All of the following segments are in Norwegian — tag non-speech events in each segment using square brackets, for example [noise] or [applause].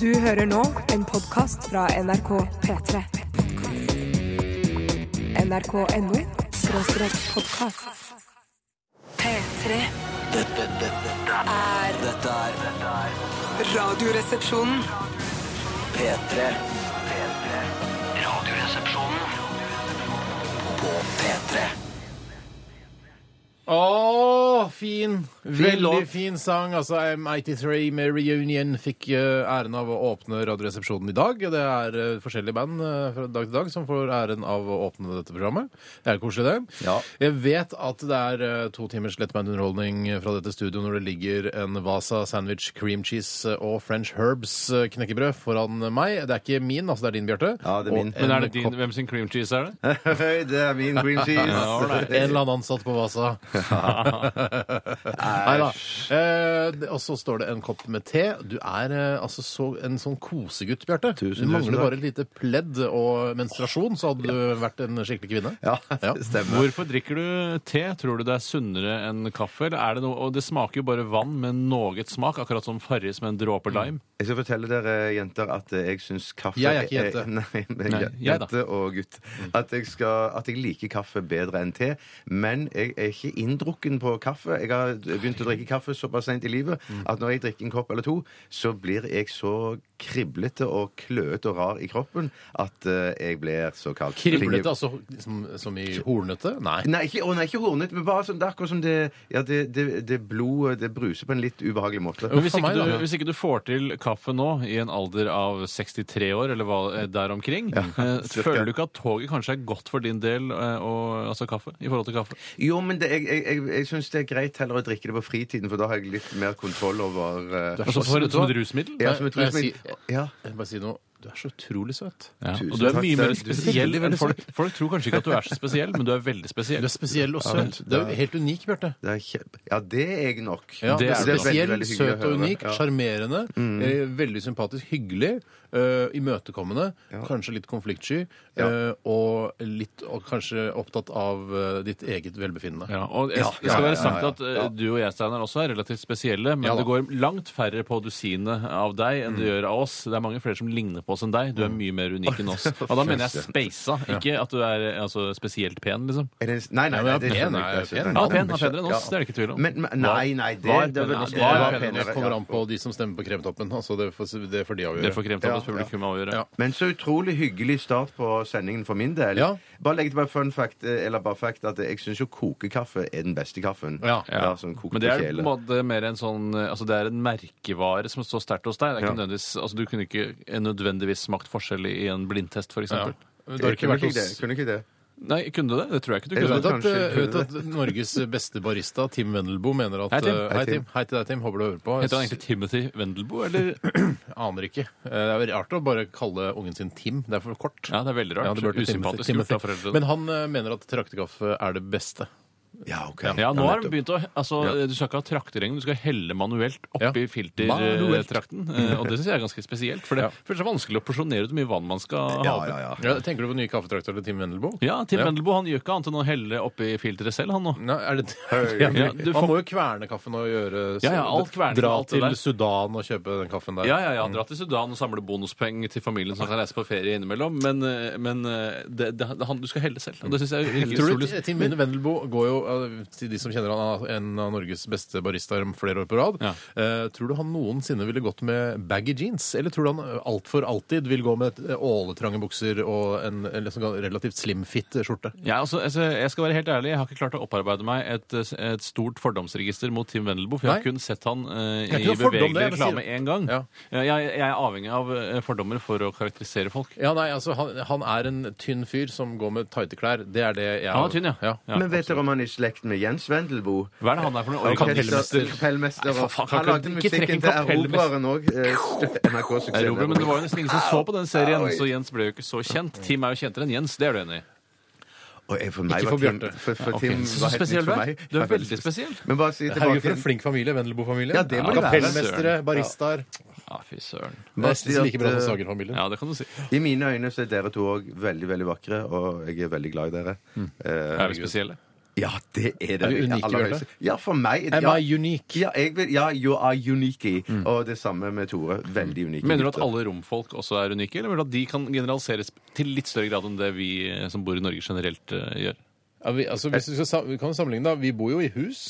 Du hører nå en podkast fra NRK P3. NRK.no skråstrek podkast. P3 Dette, dette, dette, er dette er dette er Radioresepsjonen. P3. P3. Radioresepsjonen på P3. Å, fin! Veldig låt. fin sang. Altså, M83 med Reunion fikk eh, æren av å åpne Radioresepsjonen i dag. Det er eh, forskjellige band eh, fra dag til dag som får æren av å åpne dette programmet. Det er koselig, det. Ja. Jeg vet at det er eh, to timers lettbeint underholdning fra dette studio når det ligger en Vasa sandwich, cream cheese eh, og French herbs eh, knekkebrød foran meg. Det er ikke min, altså det er din, Bjarte. Ja, det er Og min. en Men er det din, kopp- hvem sin cream cheese er det? Hei, det er min [laughs] green cheese. En eller annen ansatt på Vasa. [laughs] Nei da. Eh, det- og så står det en kopp med te. Du er eh, altså så, en sånn kosegutt, Bjarte. Du Tusen, tusen mangler takk. bare et lite pledd og menstruasjon, så hadde du vært en skikkelig kvinne. Ja, [laughs] Ja. det stemmer. Hvorfor drikker du te? Tror du det er sunnere enn kaffe? Eller er det noe, og det smaker jo bare vann med noe smak, akkurat som Farris med en Mm. dråpe lime. Jeg skal fortelle dere jenter at eh, jeg syns kaffe Jeg er ikke jente. [laughs] Nei, men Nei, jeg, jeg da. jente og gutt. At jeg, skal, at jeg liker kaffe bedre enn te. Men jeg er ikke inndrukken på kaffe. Jeg har begynt å drikke kaffe såpass sent i livet Mm. at når jeg drikker en kopp eller to, så blir jeg så kriblete og kløete og rar i kroppen at eh, jeg blir så kalt Kriblete, altså som, som i hornete? Nei. Nei, ikke, å, nei, ikke hornet, men bare sånn, det er akkurat som det, ja, det, det, det blodet det bruser på en litt ubehagelig måte. Men hvis for ikke, meg da, du, ja. hvis ikke du får til kaffe nå, i en alder av 63 år eller hva, eh, der omkring, eh, [laughs] cirka. føler du ikke at toget kanskje er godt for din del, eh, og, altså kaffe, i forhold til kaffe? Jo, men det, jeg, jeg, jeg, jeg syns det er greit heller å drikke det på fritiden, for da har jeg litt mer kontroll over eh, Altså for, som et rusmiddel? ja, som et Kan jeg rusmiddel. si- Ja. Jeg vil bare si noe. Du er så utrolig søt. Ja. Tusen Og du er takk. mye Det mer er- du- spesiell veldig, enn veldig folk. Folk tror kanskje ikke at du er så spesiell, men du er veldig Du er spesiell. spesiell og men søt. Du er jo helt unik, Bjarte. Det er kjempe... Ja, det er jeg nok. Ja, det Det er er veldig, spesiell, veldig hyggelig å søt og høre. unik, Ja. sjarmerende, eh, veldig sympatisk, hyggelig, eh, imøtekommende, kanskje litt konfliktsky, Ja. eh, og litt og kanskje opptatt av eh, ditt eget velbefinnende. Ja, og jeg, Ja, Det skal ja, være ja, sagt ja, at eh, du og jeg, Steinar, også er relativt spesielle, men Ja da. det går langt færre på dusinet av deg enn det gjør av oss. Det er mange flere som ligner på oss enn deg. Du er mye mer unik enn oss. Og da mener jeg speisa, ikke at du er eh, altså, spesielt pen, liksom. Er det, nei, nei, Ja, nei, men det pen skjønner er- jeg ikke. pen. Ja, pen er penere enn oss, det er det ikke tvil om. Men, men, nei, nei, det, Var det, det, penere. Det er Var penere, penere, det kommer ja. an på de som stemmer på Kremtoppen. Altså det, får, det får de avgjøre. Det får kremtoppets Ja, ja. publikum avgjøre. Ja. Men så utrolig hyggelig start på sendingen for min del. Ja. Bare legg til bare fun fact, eh, eller bare fact, at jeg syns jo kokekaffe er den beste kaffen. Ja. Ja. sånn kokt Men det er på på en kjele. måte mer en sånn eh, Altså det er en merkevare som står sterkt hos deg. Det er ikke Ja. nødvendigvis, altså Du kunne ikke eh, nødvendigvis smakt forskjell i i en blindtest, f.eks. Ja. eksempel Men Det har ikke kunne vært ikke det. hos... Kunne ikke det. Nei, kunne du det? Det tror jeg ikke du Jeg kunne. Vet at, Kanskje. vet at Norges beste barista, Tim Wendelbo, mener at Hei, Tim. eh, Hei, Hei, Tim. Tim. Hei til deg, Tim. Håper du hører på. Heter han egentlig Timothy Wendelboe, eller? Aner ikke. Eh, Det er jo rart å bare kalle ungen sin Tim. Det er for kort. Ja, det er veldig Ja, rart. det burde Usympatisk Timothy- gjort Timothy. av foreldrene. Men han eh, mener at traktekaffe er det beste. Ja, OK. Ja, nå har de nettopp. begynt å altså, Du skal ikke ha trakteregn, du skal helle manuelt oppi Ja. Manuelt. filtertrakten. eh, Og det syns jeg er ganske spesielt. For det, for det er så vanskelig å porsjonere ut hvor mye vann man skal ha. Ja, oppi. ja, ja. Ja, tenker du på nye kaffetrakter til Tim Wendelbo? Ja, Tim Wendelboe han gjør ikke annet enn å helle oppi filteret selv, han nå. Nei, er [laughs] det Ja, du Han får- må jo kverne kaffen og gjøre Ja, ja, alt kverning, Dra alt det til der. Sudan og kjøpe den kaffen der. Ja, ja, ja. Dra til Sudan og samle bonuspenger til familien som kan reise på ferie innimellom. Men, eh, men eh, det, det, han, du skal helle selv. Og det syns jeg virker Tror du utrolig- Tim Wendelbo går jo eh, til de som kjenner han, er en av Norges beste baristaer om flere år på rad. Ja. Eh, tror du han noensinne ville gått med baggy jeans? Eller tror du han eh, alt for alltid vil gå med et, eh, åletrange bukser og en, en liksom relativt slim-fit skjorte? Ja, altså, altså, jeg skal være helt ærlig, jeg har ikke klart å opparbeide meg et, et stort fordomsregister mot Tim Wendelboe, for jeg har Nei. kun sett han eh, er i ikke noe fordom, bevegelig det er det jeg reklame sier. én gang. Ja. Ja, Jeg, jeg er avhengig av eh, fordommer for å karakterisere folk. Ja, nei, altså, han, han er en tynn fyr som går med tighte klær. Det er det jeg Han er tynn, ja. Ja. Men vet dere om han er i slekt med Jens Wendelbo? Hva er det han er for noe? Orkester- Orkestermester? Kapellmester. Nei, for faen, Han kan lagde ikke trekke musikken inn til eh, kapellmester. Erobreren òg. Erobrer, Men det NRK-suksessen. var jo nesten ingen som så på den serien, Oi. så Jens ble jo ikke så kjent. Tim er jo kjentere enn Jens, det er du enig i? For meg Ikke var for Tim, Bjarte. for, for Ok, Tim Så, var så helt nytt spesiell for du meg. er. Du er veldig spesiell. Men bare si Herregud, for tilbake en flink familie, Vendelbo-familien. Ja, det må det være. Kapellmestere, Søren. baristaer. Ja, fy søren. Nesten at, like bra som eh, Sager-familien. Ja, det kan du si. I mine Mm. øyne så er dere to òg veldig veldig vakre, og jeg er veldig glad i dere. Eh, Er vi spesielle? Ja, det er det. Er vi unike, Aller Bjarte? høyeste. Ja, for meg Am ja. I unique? Ja, jeg vil, ja, you are unique. Og det samme med Tore. Veldig unike. Mm. Mener du at gutter. alle romfolk også er unike, eller mener du at de kan generaliseres til litt større grad enn det vi eh, som bor i Norge generelt eh, gjør? Ja, vi, altså, hvis vi, skal, sam- vi kan sammenligne, da. Vi bor jo i hus.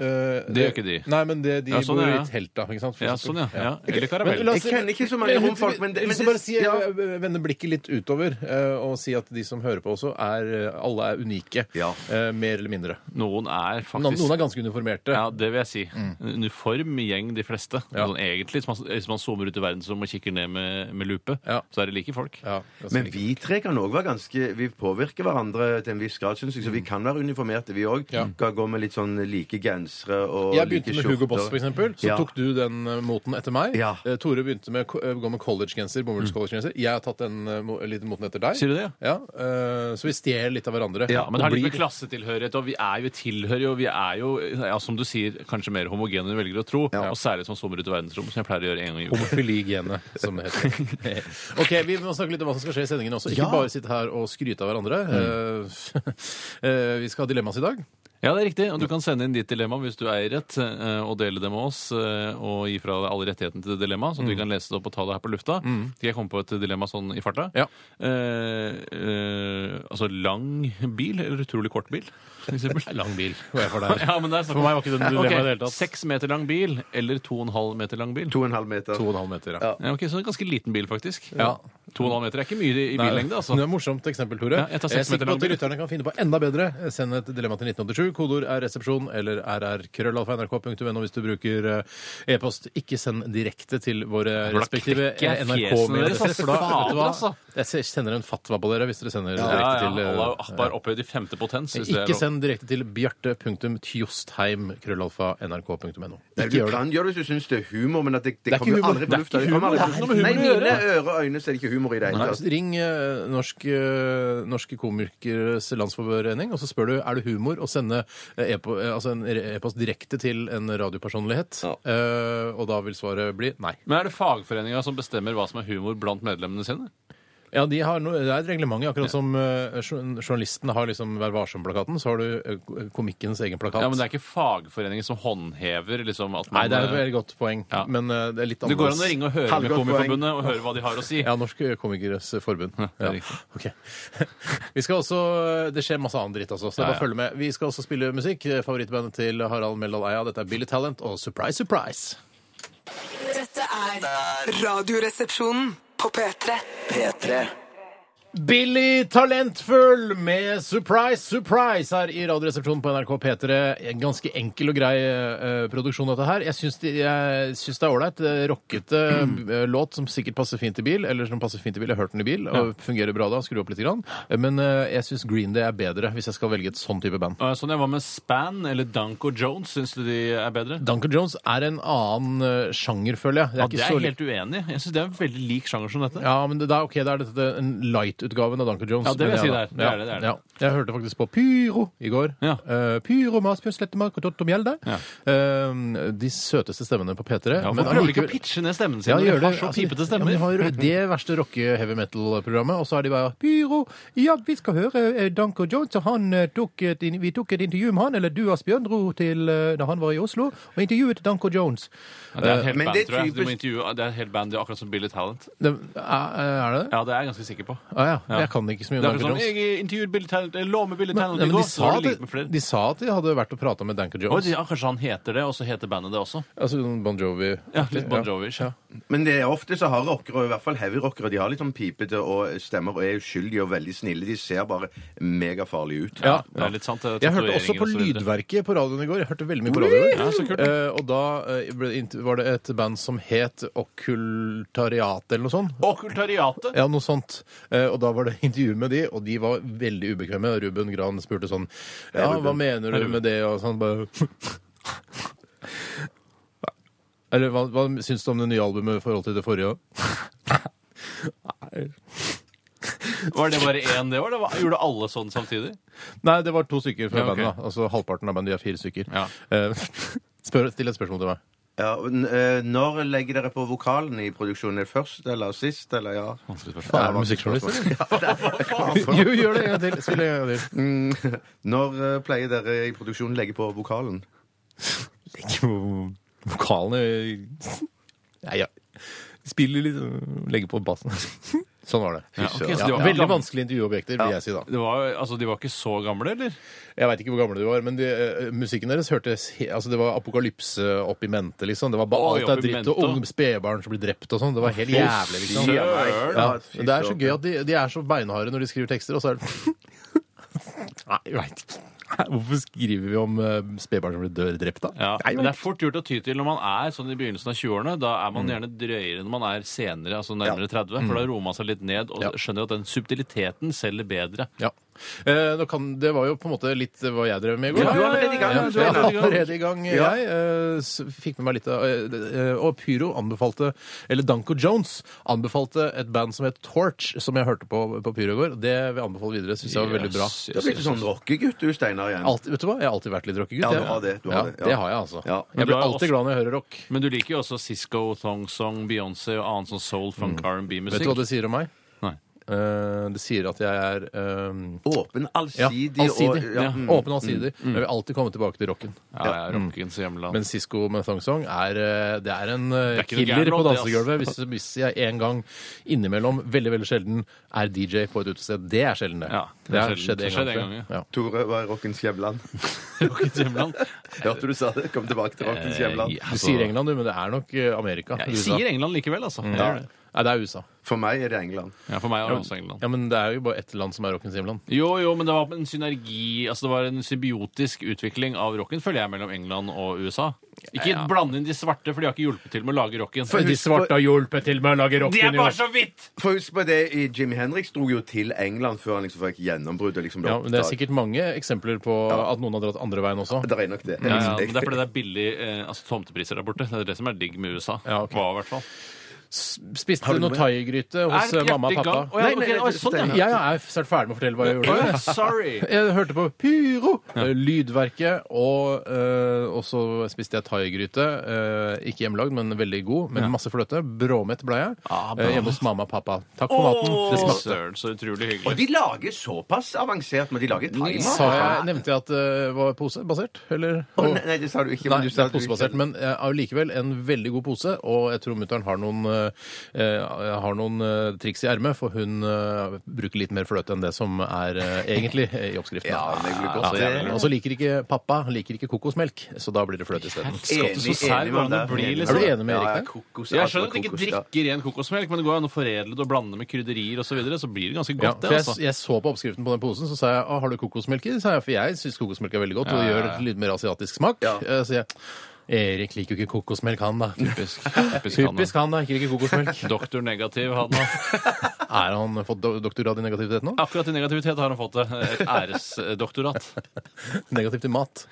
Eh, det, gjør ikke de. Nei, men det, de Ja, sånn, bor jo ja. i telt, da. Ikke sant? for Ja, eksempel. sånn, ja. ja. Eller Men karamell. la oss- Jeg kjenner ikke så mange romfolk, men det- Jeg men vil det- bare si, ja. eh, Vende blikket litt utover eh, og si at de som hører på også, er eh, alle er unike. Ja. eh, Mer eller mindre. Noen Noen, er faktisk noen er ganske uniformerte. Ja, det vil jeg si. En Uniform gjeng, de fleste. Ja. Sånn, egentlig, hvis man, hvis man zoomer ut i verdensrommet og kikker ned med, med lupe, Ja. så er det like folk. Ja, ganske Men like. vi tre kan òg være ganske Vi påvirker hverandre til en viss grad, syns jeg. Så vi kan være uniformerte, vi òg. Mm. Ja. Kan gå med litt sånn like gensere og jeg begynte like med Hugo Boss, skjorter. for eksempel Så Ja. tok du den eh, moten etter meg. Ja. Eh, Tore begynte med å gå med collegegenser. bomullscollegegenser. Jeg har tatt den eh, mo- lille moten etter deg. Mm. Sier du det, ja? eh, så vi stjeler litt av hverandre. Ja, men det har Og litt med blir- klassetilhørighet og Vi er jo vi tilhører jo Vi er jo, ja, som du sier, kanskje mer homogene enn vi velger å tro. Og særlig som zoomer ut i verdensrommet, som jeg pleier å gjøre en gang i uka. Homofili-genet, som det heter. [laughs] OK, vi må snakke litt om hva som skal skje i sendingen også. Ikke Ja. bare sitte her og skryte av hverandre. Mm. Eh, [laughs] eh, vi skal ha dilemmas i dag. Ja, det er riktig. Og du kan sende inn ditt dilemma hvis du eier et, eh, og dele det med oss. eh, Og gi fra deg alle rettighetene til det dilemmaet, så at vi Mm. kan lese det opp og ta det her på lufta. Skal jeg komme på et dilemma sånn i farta? Ja. Eh, eh, altså lang bil, eller utrolig kort bil, for eksempel. [laughs] Lang bil. Hva er jeg for deg? [laughs] Ja, men det er snakk For om- meg var ikke det noe dilemma Ok, i det hele tatt. Seks meter lang bil, eller to og en halv meter lang bil? To og en halv meter. To og en halv meter, ja. Ja, ok, Så en ganske liten bil, faktisk. Ja. To og en halv meter er ikke mye i i billengde, altså. Det er et morsomt eksempel, Tore. Ja, jeg tar seks er sikker på at meter lang bil. lytterne kan finne på enda bedre. Send et dilemma til 1987. Kodeord er resepsjon eller rrkrøllalfa.nrk.no hvis du bruker eh, e-post. Ikke send direkte til våre da respektive knekker jeg fjesene deres, NRK-medier. altså. Fader, altså. Jeg ser- sender en fatwa på dere hvis dere sender Ja, direkte ja, til eh, Allah Akbar opphøyd i femte potens. hvis det er Ikke lov. send direkte til bjarte.tjostheim.nrk.no. Nei, Ikke du gjør det. kan gjøre det hvis du syns det er humor, men at det, det, er ikke kommer jo humor. aldri Det på er lufta. ikke Det kommer humor. aldri på Det er ikke noe med humor å lufta. Nei, mine ører og øyne så er det ikke humor i det hele Nei, tatt. så ring eh, Norsk eh, Norske Komikeres Landsforening, og så spør du er det humor å sende eh, e-po- eh, altså en re- e-post direkte til en radiopersonlighet. Eh, og da vil svaret bli nei. Men er det fagforeninga som bestemmer hva som er humor blant medlemmene sine? Ja, de har noe, Det er et reglement, akkurat som eh, jour- journalistene har liksom Vær varsom-plakaten, så har du eh, komikkens egen plakat. Ja, men det er ikke fagforeningen som håndhever liksom at Nei, man det er et veldig godt poeng, Ja. men eh, det er litt Det går an annerledes. å ringe og høre Halvgodt med Komikerforbundet og høre hva de har å si. Ja, Norsk Komikeres Forbund. Ja, det er riktig. Ok. [laughs] Vi skal også, Det skjer masse annen dritt, altså. Så det er bare Ja, å ja. følge med. Vi skal også spille musikk. Favorittbandet til Harald Meldal Eia. Dette er Billy Talent og Surprise Surprise. Dette er Radioresepsjonen på P3. P3. Billy Talentfull med Surprise Surprise her i Radioresepsjonen på NRK P3. En ganske enkel og grei eh, produksjon, dette her. Jeg syns, de, jeg syns det er ålreit. Eh, Rockete eh, låt som sikkert passer fint i bil. Eller som passer fint i bil. Jeg har hørt den i bil, og fungerer bra da. Skru opp litt. Grann. Eh, Men eh, jeg syns Green Day er bedre, hvis jeg skal velge et sånn type band. Eh, Sånn jeg var med Span eller Danko Jones. Syns du de er bedre? Duncan Jones er en annen eh, sjanger, føler jeg. Det er Ja, ikke det er så jeg helt uenig i. Jeg syns det er en veldig lik sjanger som dette. Ja, men det, det er ok, det er dette det, en light-utgaven av Duncan Jones. Ja, det vil jeg mener da. si det er. Det er det, det er det. Ja. Jeg hørte faktisk på Pyro i går. Ja. Eh, pyro, Maspjørn, Slettemark og Tottom Gjelde. Ja. Eh, de søteste stemmene på P3. Ja, men Hvorfor klarer de ikke allikevel- å pitche ned stemmen sin ja, når gjør de det. har så Altså, pipete Ja, men stemmer? de har jo det verste rocke heavy metal-programmet, og så er de bare Pyro, ja, vi skal høre eh, Danko Jones, og han eh, tok et, in- vi tok et intervju med han, eller du, Asbjørn, dro til eh, da han var i Oslo, og intervjuet Danko Jones. Ja, Det er et helt Men band, det er tror jeg. Du må typisk- intervjue, det er et helt band, det er akkurat som Billy Talent. Det, er, er det det? Ja, det er jeg ganske sikker på. Ah, ja. Jeg kan ikke så mye Det om er sånn, Danko akkurat som Jones. jeg intervjuet Billy Talent, jeg lå med Billy Men, Talent nei, i men de, går. så sa har det ligget med at, flere. de sa at de hadde vært og prata med Danko Å, Jones. ja, kanskje han heter det, og så heter bandet det også. Altså noen Bon Jovi. Ja, litt Bon Jovi. Ja. Men det er ofte så har rockere, og i hvert fall heavy rockere, de har litt sånn pipete og stemmer og er uskyldige og veldig snille. De ser bare megafarlige ut. Ja. Det er litt sant. det er Jeg hørte også tatoveringer på og så videre. Lydverket på radioen i går. Jeg hørte veldig mye på radioen. Ja, så kult. Eh, og da eh, ble, det int- var det et band som het Okkultariatet eller noe sånt. Okkultariatet. Ja, noe sånt. Eh, og da var det intervju med de, og de var veldig ubekvemme. Ruben Gran spurte sånn Ja, hva mener du med det? Og sånn bare [laughs] Eller hva, hva syns du om det nye albumet i forhold til det forrige? Var det bare én, det var? det var? Gjorde alle sånn samtidig? Nei, det var to stykker fra Ja, ok. bandet. da. Altså halvparten av bandet. De er fire stykker. Ja. Eh, [laughs] spør, still et spørsmål til meg. Ja, og n- eh, når legger dere på vokalen i produksjonen? Er det Først eller sist? Eller ja? Vanskelig spørsmål. Ja, Er du musikkjournalist, [laughs] eller? Ja, det er- Jo, gjør det en gang til. Spill en gang [laughs] til. Når eh, pleier dere i produksjonen legge på vokalen? Ikke vo- vokalene eh, Nei, ja. Spiller litt og legger på bassen. [laughs] Sånn var det. Ja, ok, så Ja, de var veldig gamle. vanskelige intervjuobjekter, vil jeg si da. Det var, jo- altså, de var ikke så gamle, eller? Jeg veit ikke hvor gamle de var, men de, eh, musikken deres hørtes he- altså Det var apokalypse opp i mente, liksom. Det var bare Oi, alt er opp i dritt, og mente. unge spedbarn som blir drept og sånn. Det var helt jævlig, liksom. Fy søren. Ja, fy men det er så søren. gøy at de, de er så beinharde når de skriver tekster, og så er [laughs] det Nei, jeg veit ikke. Hvorfor skriver vi om eh, spedbarn som blir dør drept, da? Ja, Nei, men det er fort gjort å ty til når man er sånn i begynnelsen av 20-årene. Da er Mm. man gjerne drøyere når man er senere, altså nærmere 30, for da roer man seg litt ned og Ja. skjønner at den subtiliteten selger bedre. ja. Eh, nå kan, det var jo på en måte litt eh, hva jeg drev med i går. Ja, da. du er allerede i gang, Ja, du jeg er var allerede i gang. [laughs] allerede i gang. Jeg eh, s- fikk med meg litt av eh, eh, Og Pyro anbefalte, eller Danko Jones anbefalte et band som het Torch, som jeg hørte på på Pyro i går. Det vil jeg anbefale videre. Syns jeg var veldig bra. Yes, Du har yes, blitt yes. sånn rockegutt, du, Steinar. igjen. Alt, vet du hva? Jeg har alltid vært litt rockegutt. Ja, du jeg. har det, du har ja, det, ja. det har jeg, altså. Ja. Men Jeg du blir har alltid også- glad når jeg hører rock. Men du liker jo også Cisco, Thong Song, Beyoncé og annen sånn soul, Mm. Vet du funk, hva R&B-musikk. det sier om meg? Nei. Eh, det sier at jeg er eh, Åpen, ja, allsidig allsidig. og ja, mm. Åpen allsider. Jeg vil alltid komme tilbake til rocken. Ja, jeg Mm. er rockens hjemland. Men Sisko med Thong Song er, eh, det er en eh, Det er ikke noe killer gærent på låt, det, altså. ass. dansegulvet. Hvis, hvis jeg en gang innimellom, veldig veldig sjelden, er DJ på et utested. Det er sjelden, det. Ja, det er har sjelden. skjedd Det en skjedde gang. en tror jeg. gang, Ja. Tore var i rockens [laughs] hjemland. rockens hjemland. Hørte du sa det? Kom tilbake til rockens Eh, hjemland. ja. Du sier England, du, men det er nok eh, Amerika. Jeg USA. sier England likevel, altså. Mm. Jeg gjør det. Nei, det er USA. For meg er det England. Ja, for meg er det også England. Ja, Men det er jo bare ett land som er rockens hjemland. Jo, jo, men det var en synergi Altså det var en symbiotisk utvikling av rocken, føler jeg, mellom England og USA. Ikke blande inn de svarte, for de har ikke hjulpet til med å lage rocken. De svarte har hjulpet til med å lage rocken. De er jo. bare så vidt! For husk på det, i- Jimi Hendrix dro jo til England før han liksom fikk gjennombrudd. og Liksom ble Ja, men Det er oppdaget. sikkert mange eksempler på at noen har dratt andre veien også. Det er nok det. Ja, ja, men Det er fordi det er billig eh, altså, tomtepriser der borte. Det er det som er digg med USA. Ja, ok. Var, i hvert fall. Spiste noe thaigryte hos eh, mamma og pappa. Å, ja, Nei, nei, ok, nei, å, sånn, ja. Steinar. Jeg er snart ferdig med å fortelle hva jeg Å, gjorde. ja, Sorry! [laughs] Jeg hørte på Pyro, eh, Lydverket, og, eh, og så spiste jeg thaigryte. Eh, ikke hjemmelagd, men veldig god, med masse fløte. Bråmett ble jeg. Ah, bra. eh, hjemme hos mamma og pappa. Takk for maten. Det smakte. Søren, så utrolig Og hyggelig. de lager såpass avansert, men de Sa lager timer. jeg, nevnte jeg at det var posebasert? Eller? Å, nei, nei, det sa du ikke. Men Nei, det du sa er at du liksom ikke- posebasert, men eh, allikevel en veldig god pose. Og jeg tror mutter'n har noen, eh, har noen eh, triks i ermet, for hun eh, bruker litt mer fløte enn det som er eh, egentlig eh, i [laughs] oppskriften. Ja, men det blir Ja, godt. ja, det. ja. Og så liker ikke pappa liker ikke kokosmelk, så da blir det fløte isteden. Skatt og så sær enig med hvordan det deg. blir, Er liksom. du enig altså, med Erik Ja, ja, der? kokos, Jeg alt skjønner med at du ikke kokos, ja. drikker ren kokosmelk, men det går an å foredle det og blande med krydderier osv., så, videre, så blir det ganske Ja, godt, for det. jeg, altså. jeg så på oppskriften på den posen, så sa jeg «Å, har du kokosmelk i? Sa jeg, for jeg syns kokosmelk er veldig godt, og det gjør litt mer asiatisk smak. Ja. Eh, Så jeg Erik liker jo ikke kokosmelk, han da. Typisk. Typisk han, da. Typisk han da, liker ikke kokosmelk. [laughs] Doktor negativ hadde han. Er han fått do- doktorgrad i negativitet nå? [laughs] Akkurat i negativitet har han fått det. Et æresdoktorat. Negativ til mat.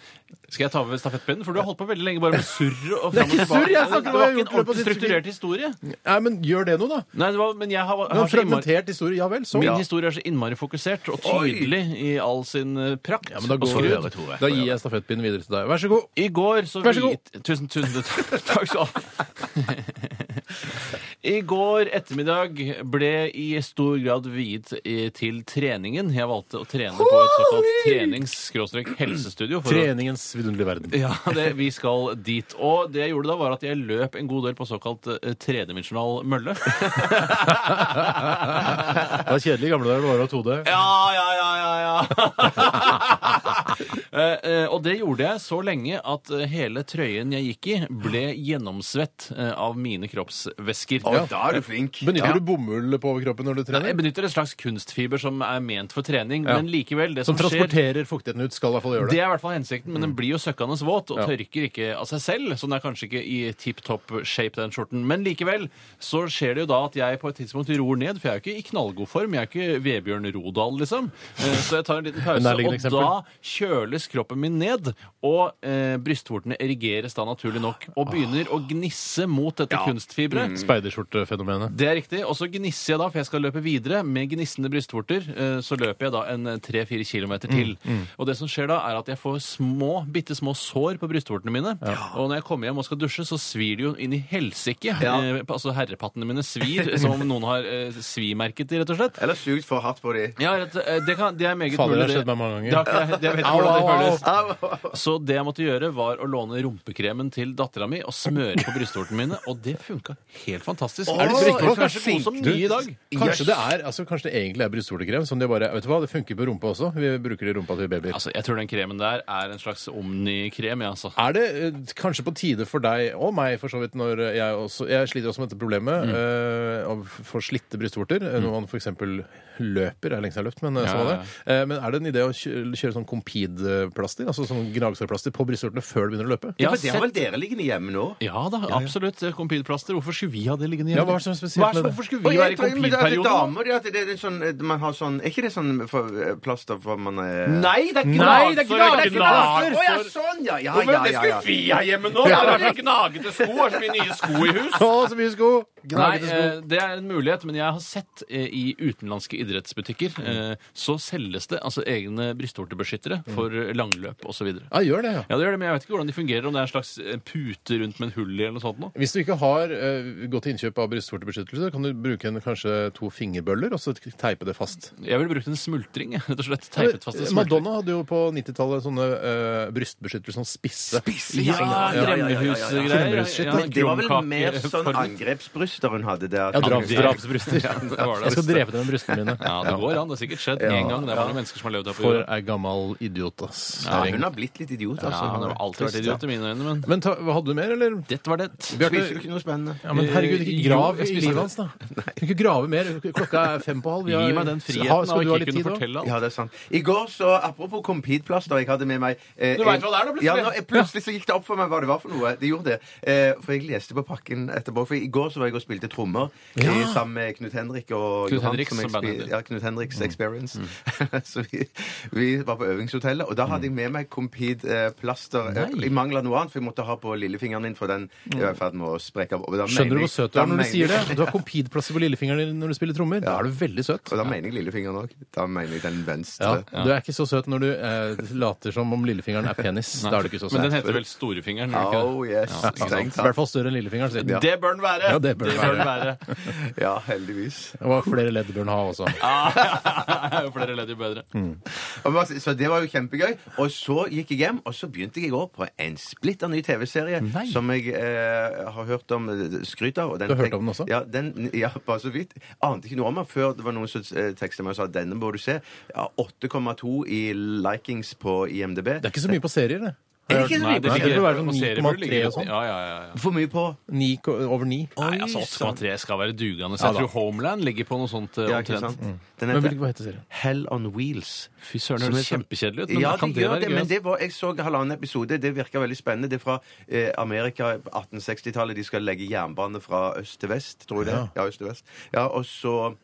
Skal jeg ta over stafettpinnen? For du har holdt på veldig lenge bare med surr og fram og ikke surr, tilbake. jeg snakker om det hva var jeg har ikke en gjort i løpet av ordentlig siste strukturert historie. Nei, men gjør det noe, da! Nei, det var, men jeg har, Men har så innmari, fragmentert historie, ja vel, så. min Ja, historie er så innmari fokusert og tydelig i all sin eh, prakt. men da, og går, skrudd. da gir jeg stafettpinnen videre til deg. Vær så god. I går så Vær så god. vit- Tusen, tusen [laughs] takk. takk skal du ha. I går ettermiddag ble i stor grad viet i- til treningen. Jeg valgte å trene på et såkalt trenings-helsestudio. for å- Treningens vidunderlige verden. Ja, det, vi skal dit. Og det jeg gjorde da, var at jeg løp en god del på såkalt eh, tredimensjonal [laughs] mølle. [laughs] Det var kjedelig i gamle dager, bare å ha et hode. Ja, ja, ja, ja, ja. [laughs] Eh, eh, og det gjorde jeg så lenge at eh, hele trøyen jeg gikk i, ble gjennomsvett eh, av mine kroppsvæsker. Å, Da er du flink. Benytter du bomull på overkroppen når du trener? Jeg benytter en slags kunstfiber som er ment for trening, men likevel, det Som som, skjer transporterer fuktigheten ut, skal i hvert fall gjøre det det. er i hvert fall hensikten, men den blir jo søkkende våt og tørker ikke av seg selv. Så den er kanskje ikke i tipp topp shape, den skjorten. Men likevel så skjer det jo da at jeg på et tidspunkt ror ned, for jeg er jo ikke i knallgod form. Jeg er jo ikke Vebjørn Rodal, liksom. Eh, Så jeg tar en liten En pause, nærliggende og eksempel. da kjøles kroppen min ned, og eh, brystvortene erigeres da naturlig nok, og begynner å gnisse mot dette kunstfiberet. Mm. Speiderskjortefenomenet. Det er riktig. Og så gnisser jeg da, for jeg skal løpe videre med gnissende brystvorter. eh, Så løper jeg da en eh, 3-4 km til. Og det som skjer da, er at jeg får små, bitte små sår på brystvortene mine. Og når jeg kommer hjem og skal dusje, så svir det jo inn i helsike. Eh, Altså herrepattene mine svir som om noen har eh, svimerket de, rett og slett. Eller sugt for hardt på de. Ja, rett, eh, det, kan, det er meget Fader, det har mulig, skjedd meg mange ganger. Det har ikke- Jeg vet ikke Au, hvordan det au, au. føles. Så det jeg måtte gjøre, var å låne rumpekremen til dattera mi og smøre på brystvortene mine, og det funka helt fantastisk. Er du flink? brystvorter Kanskje er så gode som Du, nye i dag? Kanskje det er, altså kanskje det egentlig er brystvortekrem som de bare Vet du hva, det funker på rumpa også. Vi bruker det i rumpa til babyer. Altså, Jeg tror den kremen der er en slags omnikrem. Ja, altså. Er det eh, kanskje på tide for deg og meg, for så vidt, når jeg også Jeg sliter også med dette problemet eh, av for slitte brystvorter. eh, Når man f.eks. løper. Det er lenge siden jeg har løpt, men eh, Ja, sånn var det. ja, Eh, Men er det en idé å kjø- kjøre sånn Compede-plaster, altså sånn gnagsårplaster, på brystvortene før du begynner å løpe? Jeg Ja, har for det har sett- vel dere liggende hjemme nå? ja da, absolutt. Compete-plaster. Hvorfor skulle vi ha det liggende Ja, hjemme? hva er det som er spesielt Hva er med det- det? Hvorfor skulle Og vi jeg være i tror- men det er til Compete-perioden? damer, det er at det er en sånn, eh, man har sånn, er ikke det sånn for, eh, plaster for man eh? er Nei, det er ikke Nei, det er gnagsår, gnagsår, det er gnagsår. Å ja, sånn, ja! Ja, Hvorfor ja, det ja. skulle ja. vi ha hjemme nå? Det er så gnagete sko. Det er så mye nye sko i hus. Å, så mye sko! Nei, Gnagete sko. eh, det er en mulighet, men jeg har sett eh, i utenlandske idrettsbutikker eh, så selges det altså egne brystvortebeskyttere for eh, langløp osv. Ja, gjør det, ja. Ja, det gjør det, men jeg vet ikke hvordan de fungerer, om det er en slags eh, pute rundt med en hull i eller noe sånt noe. Hvis du ikke har eh, gått til innkjøp av brystvortebeskyttelse, kan du bruke en, kanskje to fingerbøller og så teipe det fast. Jeg ville brukt en smultring, jeg, rett og slett. Teipet fast en smultring. Madonna hadde jo på 90-tallet sånne eh, brystbeskyttelser, sånn spisse. Spisse, Ja, ja, ja, ja, ja, ja, ja. Kremmerhusgreier. Kremmerhusshit, ja, Men det var vel mer krumkakeform. sånn angrepsbryster hun hadde der. Ja, draps- Ja, drapsbryster. Ja, det var det. Jeg skal drepe deg med brystene mine. Ja, det går an. Det har sikkert skjedd én gang. Det er mange mennesker som har levd her på [laughs] For jorda. ei gammal idiot, ass. Ja, hun har blitt litt idiot, Ja, altså. han har alltid vært idiot i mine øyne, men Men ta, hva hadde du mer, eller? dette var det. Spiser jo ikke noe spennende. Ja, men herregud, ikke Eh, grav jo, jeg i spiser livet det. [laughs] hans, da. Du kan ikke grave mer. Klokka er fem på halv. Vi har- Gi meg den Ha- friheten Skal av du ha å ikke litt kunne tid òg? fortelle alt. Ja, det er sant. I går, så apropos Compete-plaster, jeg hadde med meg eh, Du vet hva en- det er da, plutselig. Ja, nå, eh, plutselig så gikk det opp for meg hva det var for noe. Det gjorde det. Eh, for jeg leste på pakken etterpå. For i går så var jeg og spilte trommer eh, sammen med Knut Henrik og Knut Johan, Henrik som jeg som bandet spil- heter. Ja, Knut Henriks Experience. [laughs] så vi, vi var på øvingshotellet, og da hadde jeg med meg Compete-plaster. Eh, jeg mangla noe annet, for jeg måtte ha på lillefingeren min, for den jeg var i ferd med å sprekke av. Og da Skjønner du mener hvor jeg- søt du da er når du mener sier det? jeg- Du har compede-plasser på lillefingeren din når du spiller trommer. Da er du veldig søt. [laughs] Og da mener jeg lillefingeren òg. Da mener jeg den venstre. Ja, Du er ikke så søt når du eh, later som om lillefingeren er penis. Da er du ikke så søt. Men den heter vel storefingeren? gjør den ikke det? Oh yes. Strengt I tatt. hvert fall større enn lillefingeren sin. Det bør den være! Ja, det bør den den være. [laughs] Ja, heldigvis. Og flere ledd bør den ha også. Ja, jo flere ledd, jo bedre. Og bare si- Så det var jo kjempegøy. Og så gikk jeg hjem, og så begynte jeg i går på en splitter ny TV-serie som jeg eh, har hørt om eh, skryt av. og Du har hørt om den også? Ja, den, ja bare så vidt. Ante ikke noe om den før det var noen som eh, tekstet meg og sa denne må du se. Ja, 8,2 i likings på IMDb. Det er ikke så mye på serier, det. Er det ikke så mye på Nei, serier? det bør være sånn på serier 9,3 burde og ligge- sånn. Ja, ja, ja. ja. For mye på. Ni ko- over ni. Nei, altså 8,3 skal være dugende. Så Ja, jeg da. tror Homeland ligger på noe sånt eh, Ja, ikke sant? omtrent. Mm. Men Den heter hvilken- hva heter serien? Hell on Wheels. Fy søren, det Som høres er så- kjempekjedelig ut, men ja, kan det det gjør være det, gøy? altså. men det var, jeg så halvannen episode. Det virka veldig spennende. Det er fra eh, Amerika på 1860-tallet. De skal legge jernbane fra øst til vest, tror jeg det. er. Ja, øst til vest. Ja, og så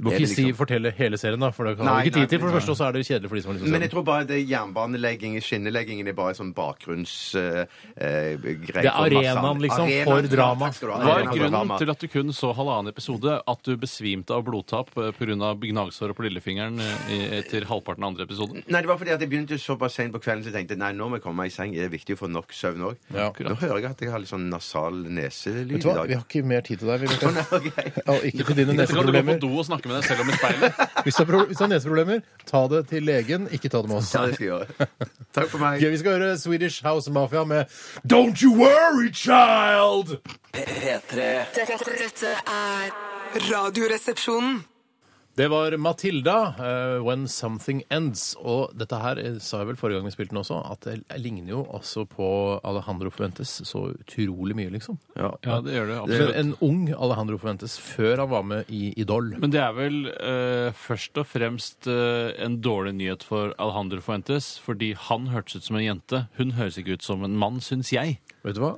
Du må Er ikke det si liksom- 'fortelle hele serien', da, for det har Nei, vi ikke nei, tid til. For det nei. første, og så er det kjedelig for de som har lyst til å Men se jeg den. tror bare det jernbanelegging, skinneleggingen er bare sånn bakgrunnsgreie. Eh, grei Det er for masse arenaen, andre- liksom, Arenaen, for ja, drama. takk skal du ha. Var Arenaen for grunnen drama. til at du kun så halvannen episode at du besvimte av blodtap pga. gnagsåret på lillefingeren eh, i- etter halvparten av andre episode? Nei, det var fordi at jeg begynte såpass sent på kvelden, så jeg tenkte nei, nå må jeg komme meg i seng. Det er viktig å få nok søvn òg. Ja. Nå hører jeg at jeg har litt sånn nasal neselyd i Vet du hva, dag. vi [laughs] har ikke mer tid til deg. Vi Nei, Bjarte. ok. og ikke til dine Dette kan du gå på neseproblemer. do og snakke med deg selv om i speilet. [laughs] Hvis du har pro- hvis du har neseproblemer, ta det til legen, ikke ta det med oss. Ja, det skal jeg gjøre. Takk for meg. Ok, vi skal høre Swedish House Mafia med Don't You Worry Child! P3. Dette, dette er Radioresepsjonen. Det var Matilda, eh, 'When Something Ends'. Og dette her eh, sa jeg vel forrige gang vi spilte den også, at det ligner jo også på Alejandro Fuentes så utrolig mye, liksom. Ja, det gjør det Men absolutt. en ung Alejandro Fuentes før han var med i Idol. Men det er vel eh, først og fremst eh, en dårlig nyhet for Alejandro Fuentes, fordi han hørtes ut som en jente. Hun høres ikke ut som en mann, syns jeg. Vet du hva?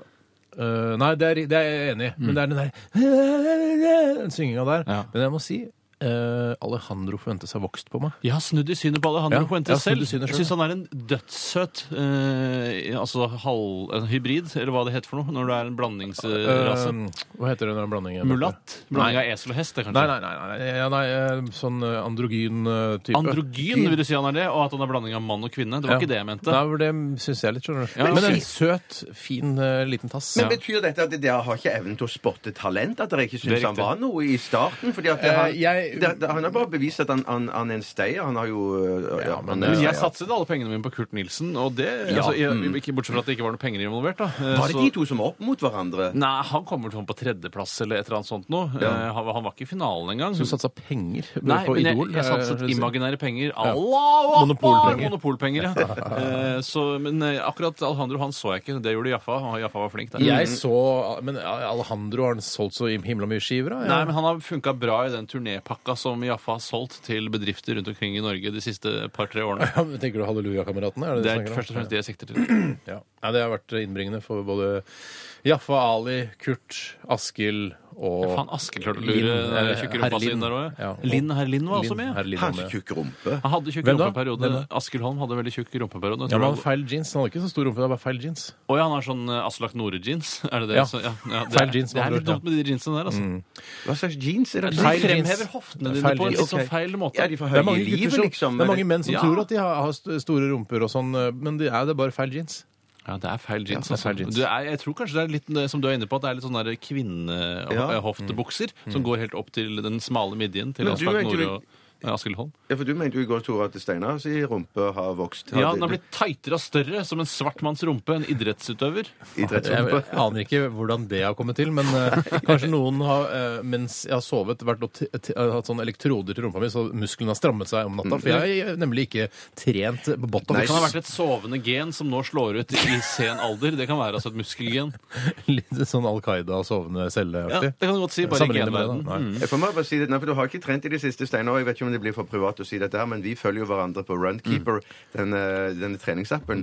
Eh, nei, det er, det er jeg enig i, men det er den der Den synginga der. Ja. Men jeg må si eh, Alejandro Fuentes har vokst på meg. Jeg har snudd i synet på Alejandro Ja, jeg Fuentes har snudd selv. i synet Jeg selv. syns han er en dødssøt eh, altså halv, en hybrid, eller hva det heter for noe, når du er en blandingsrase. Eh, hva heter det når det er en blanding? Mulatt? Blanding av esel og hest, det, Nei, kanskje? nei, nei, nei, nei, ja, nei eh, sånn eh, androgyn eh, type. Androgyn, vil du si han er det? Og at han er blanding av mann og kvinne? Det var ikke det jeg mente. Nei, for det syns jeg litt, skjønner du. Ja, Men ok. en søt, fin eh, liten tass. Men betyr dette at dere har ikke evnen til å spotte talent? At dere ikke syns Det er han riktig. var noe i starten? Fordi at det Eh, har, jeg- det, det, han har bare bevist at han, han, han er en stayer. Han har jo øh, ja, men, han er- Men ja, jeg satset alle pengene mine på Kurt Nilsen, og det altså, Mm. jeg, ikke, Bortsett fra at det ikke var noen penger involvert, da. Eh, Var det så- de to som var opp mot hverandre? Nei, han kommer sånn på tredjeplass eller et eller annet sånt noe. Eh, Han, han var ikke i finalen engang. Du satsa penger Nei, på men jeg, Idol? jeg satset eh, imaginære penger. Allah, Monopolpenger. Monopolpenger. Monopolpenger, [laughs] ja. Eh, så, men eh, akkurat Alejandro han så jeg ikke. Det gjorde Jaffa. og Jaffa var flink der. Jeg så Men Alejandro, har han solgt så himla mye skiver? da? Nei, men Han har funka bra i den turnépakka som Jaffa har solgt til bedrifter rundt omkring i Norge de siste par-tre årene. [laughs] Ja, men Tenker du Halleluja-kameratene? Er det, Det det, er du snakker om? først og fremst det jeg sikter til. [clears throat] Ja. Nei, det har vært innbringende for både Jaffa Ali, Kurt, Askild og Faen, Askild klarte å Linn, lure den eh, tjukke herr rumpa si Linn. inn der òg. Ja, ja. og- Linn herr Linn var Ah. også Linn, med. herr Linn var Hans med. tjukke rumpe. Han hadde tjukk Hvem da? rumpeperiode. Hvem da? Askild Holm hadde veldig tjukk rumpeperiode. Ja, men han har feil jeans. Han har ikke så stor rumpe, det er bare feil jeans. Å ja, han har sånn eh, Aslak Nore-jeans. [laughs] Er det det? Ja. Så, ja, ja, det, Feil er, jeans, det med er andre litt ord, dumt med de jeansene der, altså. Hva slags jeans er det? De Feil jeans. fremhever hoftene dine Feil på en jeans, litt sånn feil måte. Ja, de får Det er høye mange, i gutter livet, som, liksom. det er mange menn som Ja. tror at de har, har st- store rumper og sånn, eh, men det er det bare feil jeans. Ja, det er feil jeans. Ja, det er feil altså. jeans. Du er, jeg tror kanskje det er litt, eh, som du er inne på, at det er litt sånn der Ja. kvinnehoftebukser som går helt opp til den smale midjen til Men du Aslak mente Nore du- og eh, Askild Holm. Ja, for du mente jo i går, Tore, at Steinar sin rumpe har vokst. Ja, den har blitt tightere og større, som en svart manns rumpe, en idrettsutøver. Jeg idrettsrumpe. [laughs] aner ikke hvordan det har kommet til, men [laughs] eh, kanskje noen har, eh, mens jeg har sovet, vært og t t hatt sånn elektroder til rumpa mi, så musklene har strammet seg om natta. For jeg har nemlig ikke trent på Det botox. kan ha vært et sovende gen som nå slår ut i sen alder. Det kan være altså et muskelgen. [laughs] Litt sånn Al Qaida og sovende Ja, celleaktig. det kan du godt si, bare ikke Sammenlignet med det, da. genverden. Nei. Mm. Jeg får meg bare si det, nei, for Du har ikke trent i det siste, Steinar. og Jeg vet ikke om det blir for privat å si dette, her, men vi følger jo hverandre på Runkeeper, denne, denne treningsappen.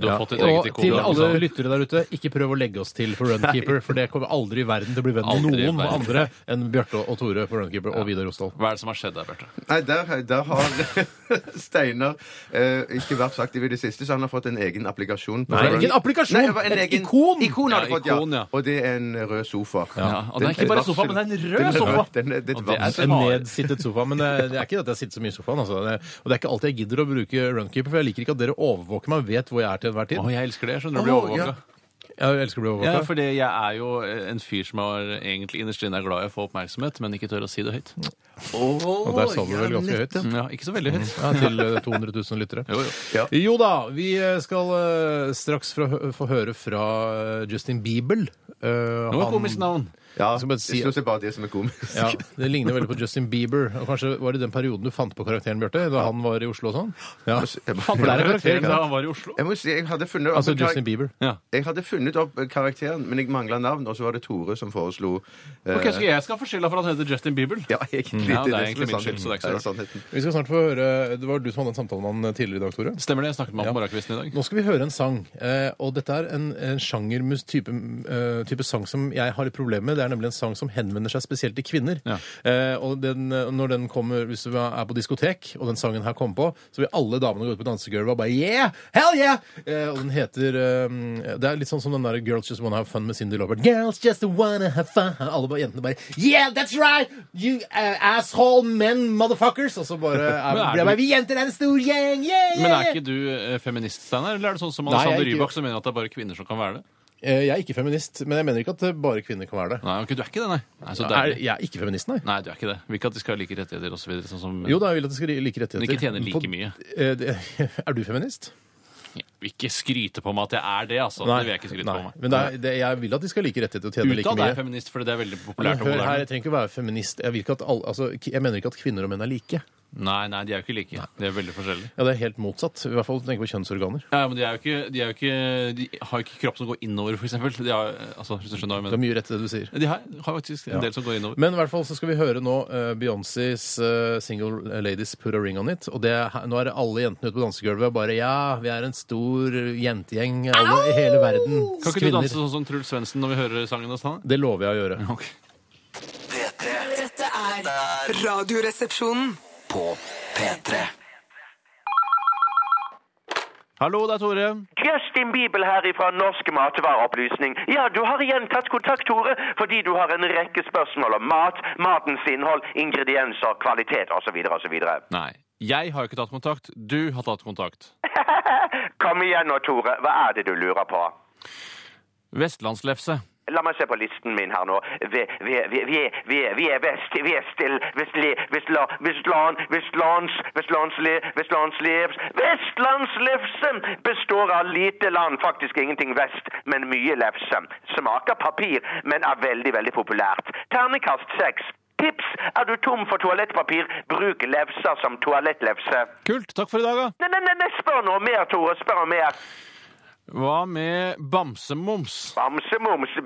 Mm. Du har fått et Og eget til ikon. alle lyttere der ute, ikke prøv å legge oss til på Runkeeper, for det kommer aldri i verden til å bli venn med Aldri i noen verden. andre enn Bjarte og Tore på Runkeeper og Vidar Rosdal. Hva er det som har skjedd der, Bjarte? Nei, der, der har [laughs] Steinar eh, ikke vært så aktiv i det siste, så han har fått en egen applikasjon. på Nei, Run- ingen applikasjon, Nei, det var en et egen- ikon! Ikon Ja, har de fått, ja. ikon, ja. Og det er en rød sofa. Ja, og det er ikke bare sofa, men det er en rød sofa. Den er, det er Og et det er varsel. En et Har- nedsittet sofa. Men eh, det det er ikke det at jeg sitter så mye i sofaen. Altså. Det, og det er ikke alltid jeg gidder å bruke Runkeeper, for jeg liker ikke at dere overvåker meg og vet hvor jeg er til enhver Å, tid. jeg elsker det. Jeg skjønner du blir Å, ja. overvåka. Jeg elsker å bli Ja, overvåka. fordi jeg er jo eh, en fyr som er egentlig innerst inne er glad i å få oppmerksomhet, men ikke tør å si det høyt. Og der sa du vel ganske høyt. Ja, ikke så veldig høyt. Ja, til eh, 200 000 lyttere. Jo, jo. Ja. Jo da, vi eh, skal eh, straks fra, få høre fra eh, Justin Bieber. Eh, Nå er han- komisk navn. Ja, Jeg skal bare si- jeg synes det er bare det som er komisk. Ja, Det ligner veldig på Justin Bieber. Og kanskje var det den perioden du fant på karakteren, Bjarte? Da han var i Oslo og sånn? Ja. Jeg må- For det er en karakter, Karakteren da han var i Oslo. Jeg må si, jeg hadde funnet Altså opp- Justin Bieber. Ja. Jeg hadde funnet opp karakteren, men jeg mangla navn, og så var det Tore som foreslo eh, Ok, så jeg skal få skylda for at han heter Justin Bieber. Ja, egentlig. Ja, det er som egentlig min skyld, så det er ikke så Ja, rart. sannheten. Vi skal snart få høre Det var du som hadde den samtalen med han tidligere i dag, Tore. Stemmer det? Jeg snakket med Ja. ham på morgenkvisten i dag. Nå skal vi høre en sang, eh, og dette er en, en sjanger mus- type, eh, type sang som jeg har litt problemer med. Det er nemlig en sang som henvender seg spesielt til kvinner. Ja. Eh, og den, eh, når den kommer, hvis du er på diskotek, og den sangen her kommer på, så vil alle damene gå ut på dansegulvet og bare yeah! Hell yeah! Eh, og den heter eh, Det er litt sånn som den der Girls Just Wanna Have Fun med Cindy Lauper. Girls just wanna have fun. Alle bare, jentene bare Yeah, that's right! You eh, asshole men motherfuckers! Og så bare er, Men blir er det du- bare Vi jenter er en stor gjeng! Yeah, yeah, Men er yeah! ikke du eh, feminist, Steinar? Eller er det sånn som Nei, jeg er Alexander ikke- Rybak som mener at det er bare kvinner som kan være det? Eh, Jeg er ikke feminist, men jeg mener ikke at eh, bare kvinner kan være det. Nei, ok, du er ikke det, nei. Nei, så Er, deilig. jeg er ikke feminist, nei. Nei, du er ikke det. Vi ikke at de skal ha like rettigheter osv. Sånn som Jo da, jeg vil at de skal ha like rettigheter. Men ikke tjene like På- mye. Eh, det- [laughs] Er du feminist? Ja, Ikke skryte på meg at jeg er det, altså. Det vil jeg ikke skryte nei. på meg. Men det er, det, jeg vil at de skal ha like rettigheter og tjene like Utad er jeg mye. feminist, for det er veldig Men populært og Hør her, moderne. jeg trenger ikke være feminist. Jeg, vil ikke at alle, altså, k- jeg mener ikke at kvinner og menn er like. Nei, nei, de er jo ikke like. De er veldig forskjellige. Ja, Det er helt motsatt. I hvert fall tenk på kjønnsorganer. Ja, men de, er jo ikke, de, er jo ikke, de har jo ikke kropp som går innover, for eksempel. De har, altså, hvis du skjønner hva jeg Det er mener. mye rett i det du sier. De har, har faktisk en del som går innover. Men i hvert fall så skal vi høre nå eh, Beyoncés eh, Single Ladies Put a Ring On It. Og det, er her- nå er det alle jentene ute på dansegulvet og bare Ja, vi er en stor eh, jentegjeng alle, i hele verden. Kan ikke du danse [laughs] sånn som Truls Svendsen når vi hører sangen hans? da? Det lover jeg å gjøre. Ok. P3. Dette er Radioresepsjonen. På P3. Hallo, det er Tore. Justin Bibel her ifra Norsk matvareopplysning. Ja, du har igjen tatt kontakt, Tore, fordi du har en rekke spørsmål om mat, matens innhold, ingredienser, kvalitet osv. osv. Nei, jeg har ikke tatt kontakt. Du har tatt kontakt. [laughs] Kom igjen nå, Tore. Hva er det du lurer på? Vestlandslefse. La meg se på listen min her nå. Vi, vi, vi, vi, vi, vi er vest, vi er still, vestli, vestla, vestland, vestlands, vestlandsli, vestlandslevs, vestlandslefse består av lite land, faktisk ingenting vest, men mye lefse. Smaker papir, men er veldig, veldig populært. Ternekast 6. Tips! Er du tom for toalettpapir, bruk lefser som toalettlefse. Kult. Takk for i dag, da. Nei, nei, nei, nei, spør noe mer, Tore, spør noe mer. Hva med bamsemums? Bamsemums,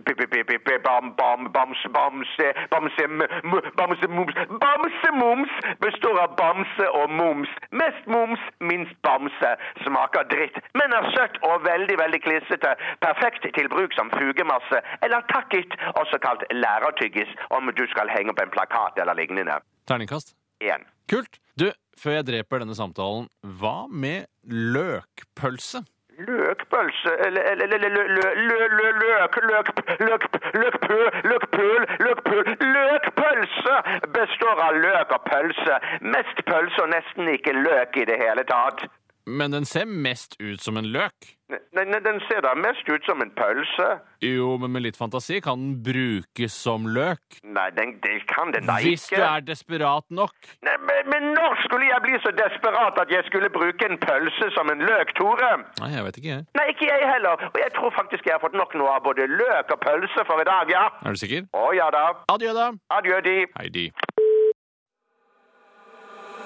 bam-bam-bamse-bamse, bamse-mums Bamsemums består av bamse og mums. Mest mums, minst bamse. Smaker dritt, men er søtt og veldig, veldig klissete. Perfekt til bruk som fugemasse, eller takket, også kalt lærertyggis, om du skal henge opp en plakat eller lignende. Terningkast. En. Kult. Du, før jeg dreper denne samtalen, hva med løkpølse? Løkpølse eller- eller- eller- lø- lø- lø- lø- Løk løk- løk- løkpøl løkpøl løkpøl Løkpølse består av løk og pølse. Mest pølse og nesten ikke løk i det hele tatt. Men den ser mest ut som en løk. Nei, nei, den ser da mest ut som en pølse. Jo, men med litt fantasi kan den brukes som løk. Nei, den, det kan den da Hvis du ikke. er desperat nok. Nei, men, men når skulle jeg bli så desperat at jeg skulle bruke en pølse som en løk, Tore? Nei, jeg vet ikke, jeg. Nei, ikke jeg heller. Og jeg tror faktisk jeg har fått nok nå av både løk og pølse for i dag, ja. Er du sikker? Å ja da. Adjø, da. Adjø, de. Heidi.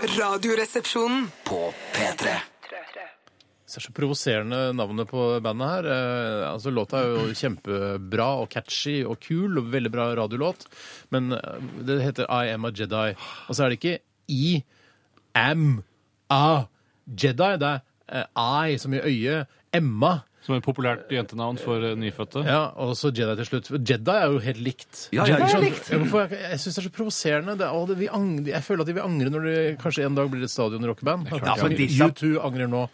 Radioresepsjonen. På P3. Så er det så provoserende navnet på bandet her. Eh, altså Låta er jo kjempebra og catchy og kul og veldig bra radiolåt, men eh, det heter I Am A Jedi. Og så er det ikke I Am A Jedi, det er eh, I som i øye, Emma, Som et populært jentenavn for eh, nyfødte. ja, og så Jedi til slutt. Jedi er jo helt likt. Ja, ja, Jedi ja. likt. Ja, hvorfor- jeg jeg syns det er så provoserende. Det, er- å, det, vi ang- jeg føler at de vil angre når det kanskje en dag blir et stadionrockeband. Ja, men disse- U2 angrer nå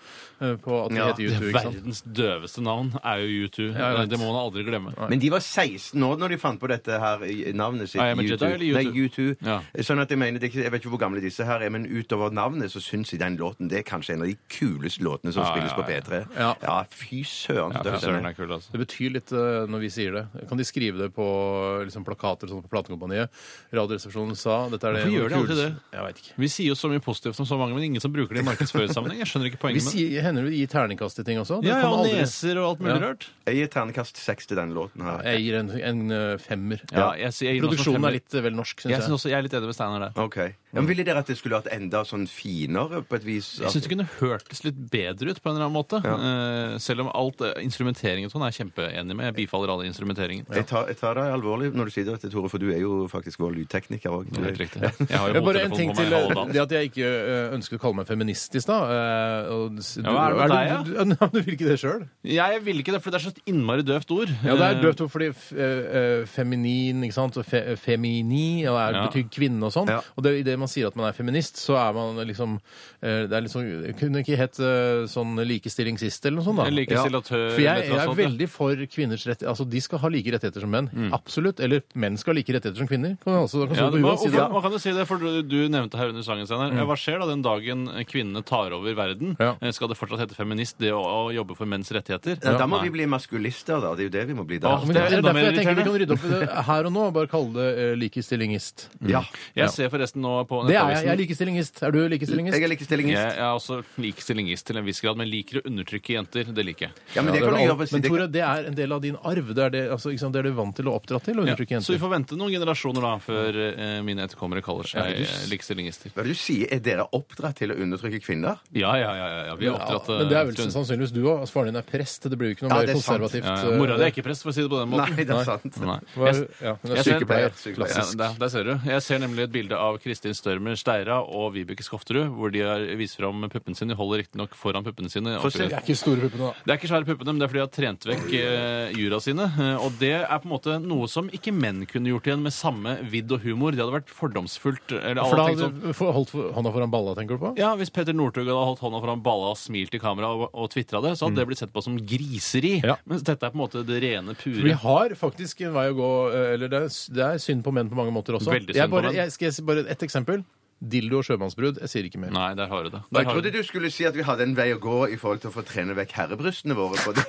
eh, på at de Ja, heter U2. ikke sant? Verdens døveste navn er jo U2. jeg vet. det må man aldri glemme. Men de var 16 år når de fant på dette her i- navnet sitt. Ah, ja, men U2. Jedi eller U2? Nei, U2. Ja. Sånn at jeg mener, det er ikke- Jeg vet ikke hvor gamle disse her er, men utover navnet så syns jeg den låten det er kanskje en av de kuleste låtene som Ah, Ja, spilles ja, på ja. P3. Ja. fy søren. så Ja, døv fy den søren, er. det er kult, altså. Det betyr litt eh, når vi sier det. Kan de skrive det på eh, liksom, plakater og sånt på platekompaniet? Radioresepsjonen sa dette er det Hvorfor gjør de kuleste- alltid det? Jeg vet ikke. Vi sier jo så mye positivt om så mange, men ingen som bruker det i markedsføringssammenheng. Jeg skjønner Vi ikke poenget med det. sier, hender det vi gir terningkast til ting også. Det Ja, ja, kan og aldri- neser og alt mulig Ja. rørt. Jeg gir ternekast seks til den låten her. Jeg gir en, en eh, femmer. Ja, jeg sier- jeg gir den også Produksjonen femmer. er litt eh, vel norsk, Jeg, syns synes jeg. også, jeg er litt enig med Steinar der. Ok. Ja, men ville dere at det skulle vært enda sånn finere på et vis? Jeg syns det kunne hørtes litt bedre ut på en eller annen måte. Eh, selv om alt eh, instrumenteringen og sånn er jeg kjempeenig med. Jeg bifaller alle instrumenteringen. Jeg tar, jeg tar deg alvorlig når du sier dette, Tore, for du er jo faktisk vår lydtekniker òg. Det er helt riktig. Jeg har jo Ja, [laughs] bare en ting hodetelefonen på til. meg halve eh, dagen. Det at jeg ikke eh, ønsket å kalle meg feminist i stad. eh, og s- Ja, hva er det med du, du, [laughs] ja, du vil ikke det sjøl? Jeg vil ikke det, for det er så et innmari døvt ord. Ja, det er Eh, døvt ord fordi f- eh, eh, feminin, ikke sant, og fe eh, femini, og det er, Ja. betyr kvinne og sånn. Ja. Og det, i det man sier at man er feminist, så er man liksom eh, Det er liksom Kunne ikke hett eh, sånn likestilling sist, eller noe sånt, da. Eller likestillatør, For jeg, eller noe jeg er sånt, sånn, ja. Mm. veldig for kvinners rettigheter. Altså, de skal ha like rettigheter som menn. Absolutt. Eller menn skal ha like rettigheter som kvinner. Kan man, altså, kan Ja, stå det, på huet man, og si det. Mm. man kan jo si det, for du, du nevnte her under sangen Steinar. Ja, Hva skjer da den dagen kvinnene tar over verden? Ja. Eh, Skal det fortsatt hete feminist, det å, å jobbe for menns rettigheter? Ja, da må Nei. vi bli maskulister, da. Det er jo det vi må bli da. Åh, Men Det det er er enda mer derfor jeg tenker vi kan irriterende. rydde opp i det her og nå. Bare kalle det eh, likestillingist. ja. Mm. Jeg ser forresten nå på Det er jeg. Jeg er Nettavisen likestillingist. Er du likestillingist? Jeg er likestillingist. jeg er også likestillingist til en viss grad, men liker å undertrykke jenter. Det liker jeg. Ja, men det Ja, kan det er du gjøre alt. på Men det- Tore, det er en del av din arv. Det er det, altså, ikke sant, det er du vant til å oppdra til. å Ja, undertrykke så vi jenter. får vente noen generasjoner da før eh, mine etterkommere kaller seg Ja, du s- eh, likestillingister. Hva er det du sier? Er dere oppdratt til å undertrykke kvinner? Ja, ja, ja. ja, ja. Vi er oppdratt Ja, eh, men det er vel til- sannsynligvis du òg. Altså, faren din er prest. Det blir jo ikke noe Ja, mer det er sant. konservativt. eh, ja, ja. Mora di er ikke prest, for å si det på den måten. Nei, det er Nei. sant. eh, Nei. Hva- Jeg- ja, hun er jeg ser- sykepleier. Sykepleier. Ja, Klassisk. der, der ser du. Jeg ser nemlig et bilde av Kristin Størmer Steira og Vibeke Skofterud, hvor de har vist fram puppene sine. De holder riktignok foran puppene sine. Få se. Det er ikke store puppene, da. Det er ikke svære puppene, men det er fordi de har trent vekk eh, jura sine. Eh, Og det er på en måte noe som ikke menn kunne gjort igjen med samme vidd og humor. Det hadde vært fordomsfullt. Eller alle For da hadde tenkt sånn, hadde du få- holdt for- hånda foran balla, tenker du på? ja, Hvis Petter Northug hadde holdt hånda foran balla og smilt i kamera og, og tvitra det, så hadde det blitt sett på som griseri. Mm. Ja. Mens dette er på en måte det rene, Vi pure. har faktisk en vei å gå. eh, Eller det er, det er synd på menn på mange måter også. Veldig synd jeg bare, på menn. Jeg, skal jeg si bare et eksempel? Dildo og sjømannsbrud. Jeg sier ikke mer. Nei, der har du det. Og Der Jeg har du trodde det. du skulle si at vi hadde en vei å gå i forhold til å få trene vekk herrebrystene våre. På det.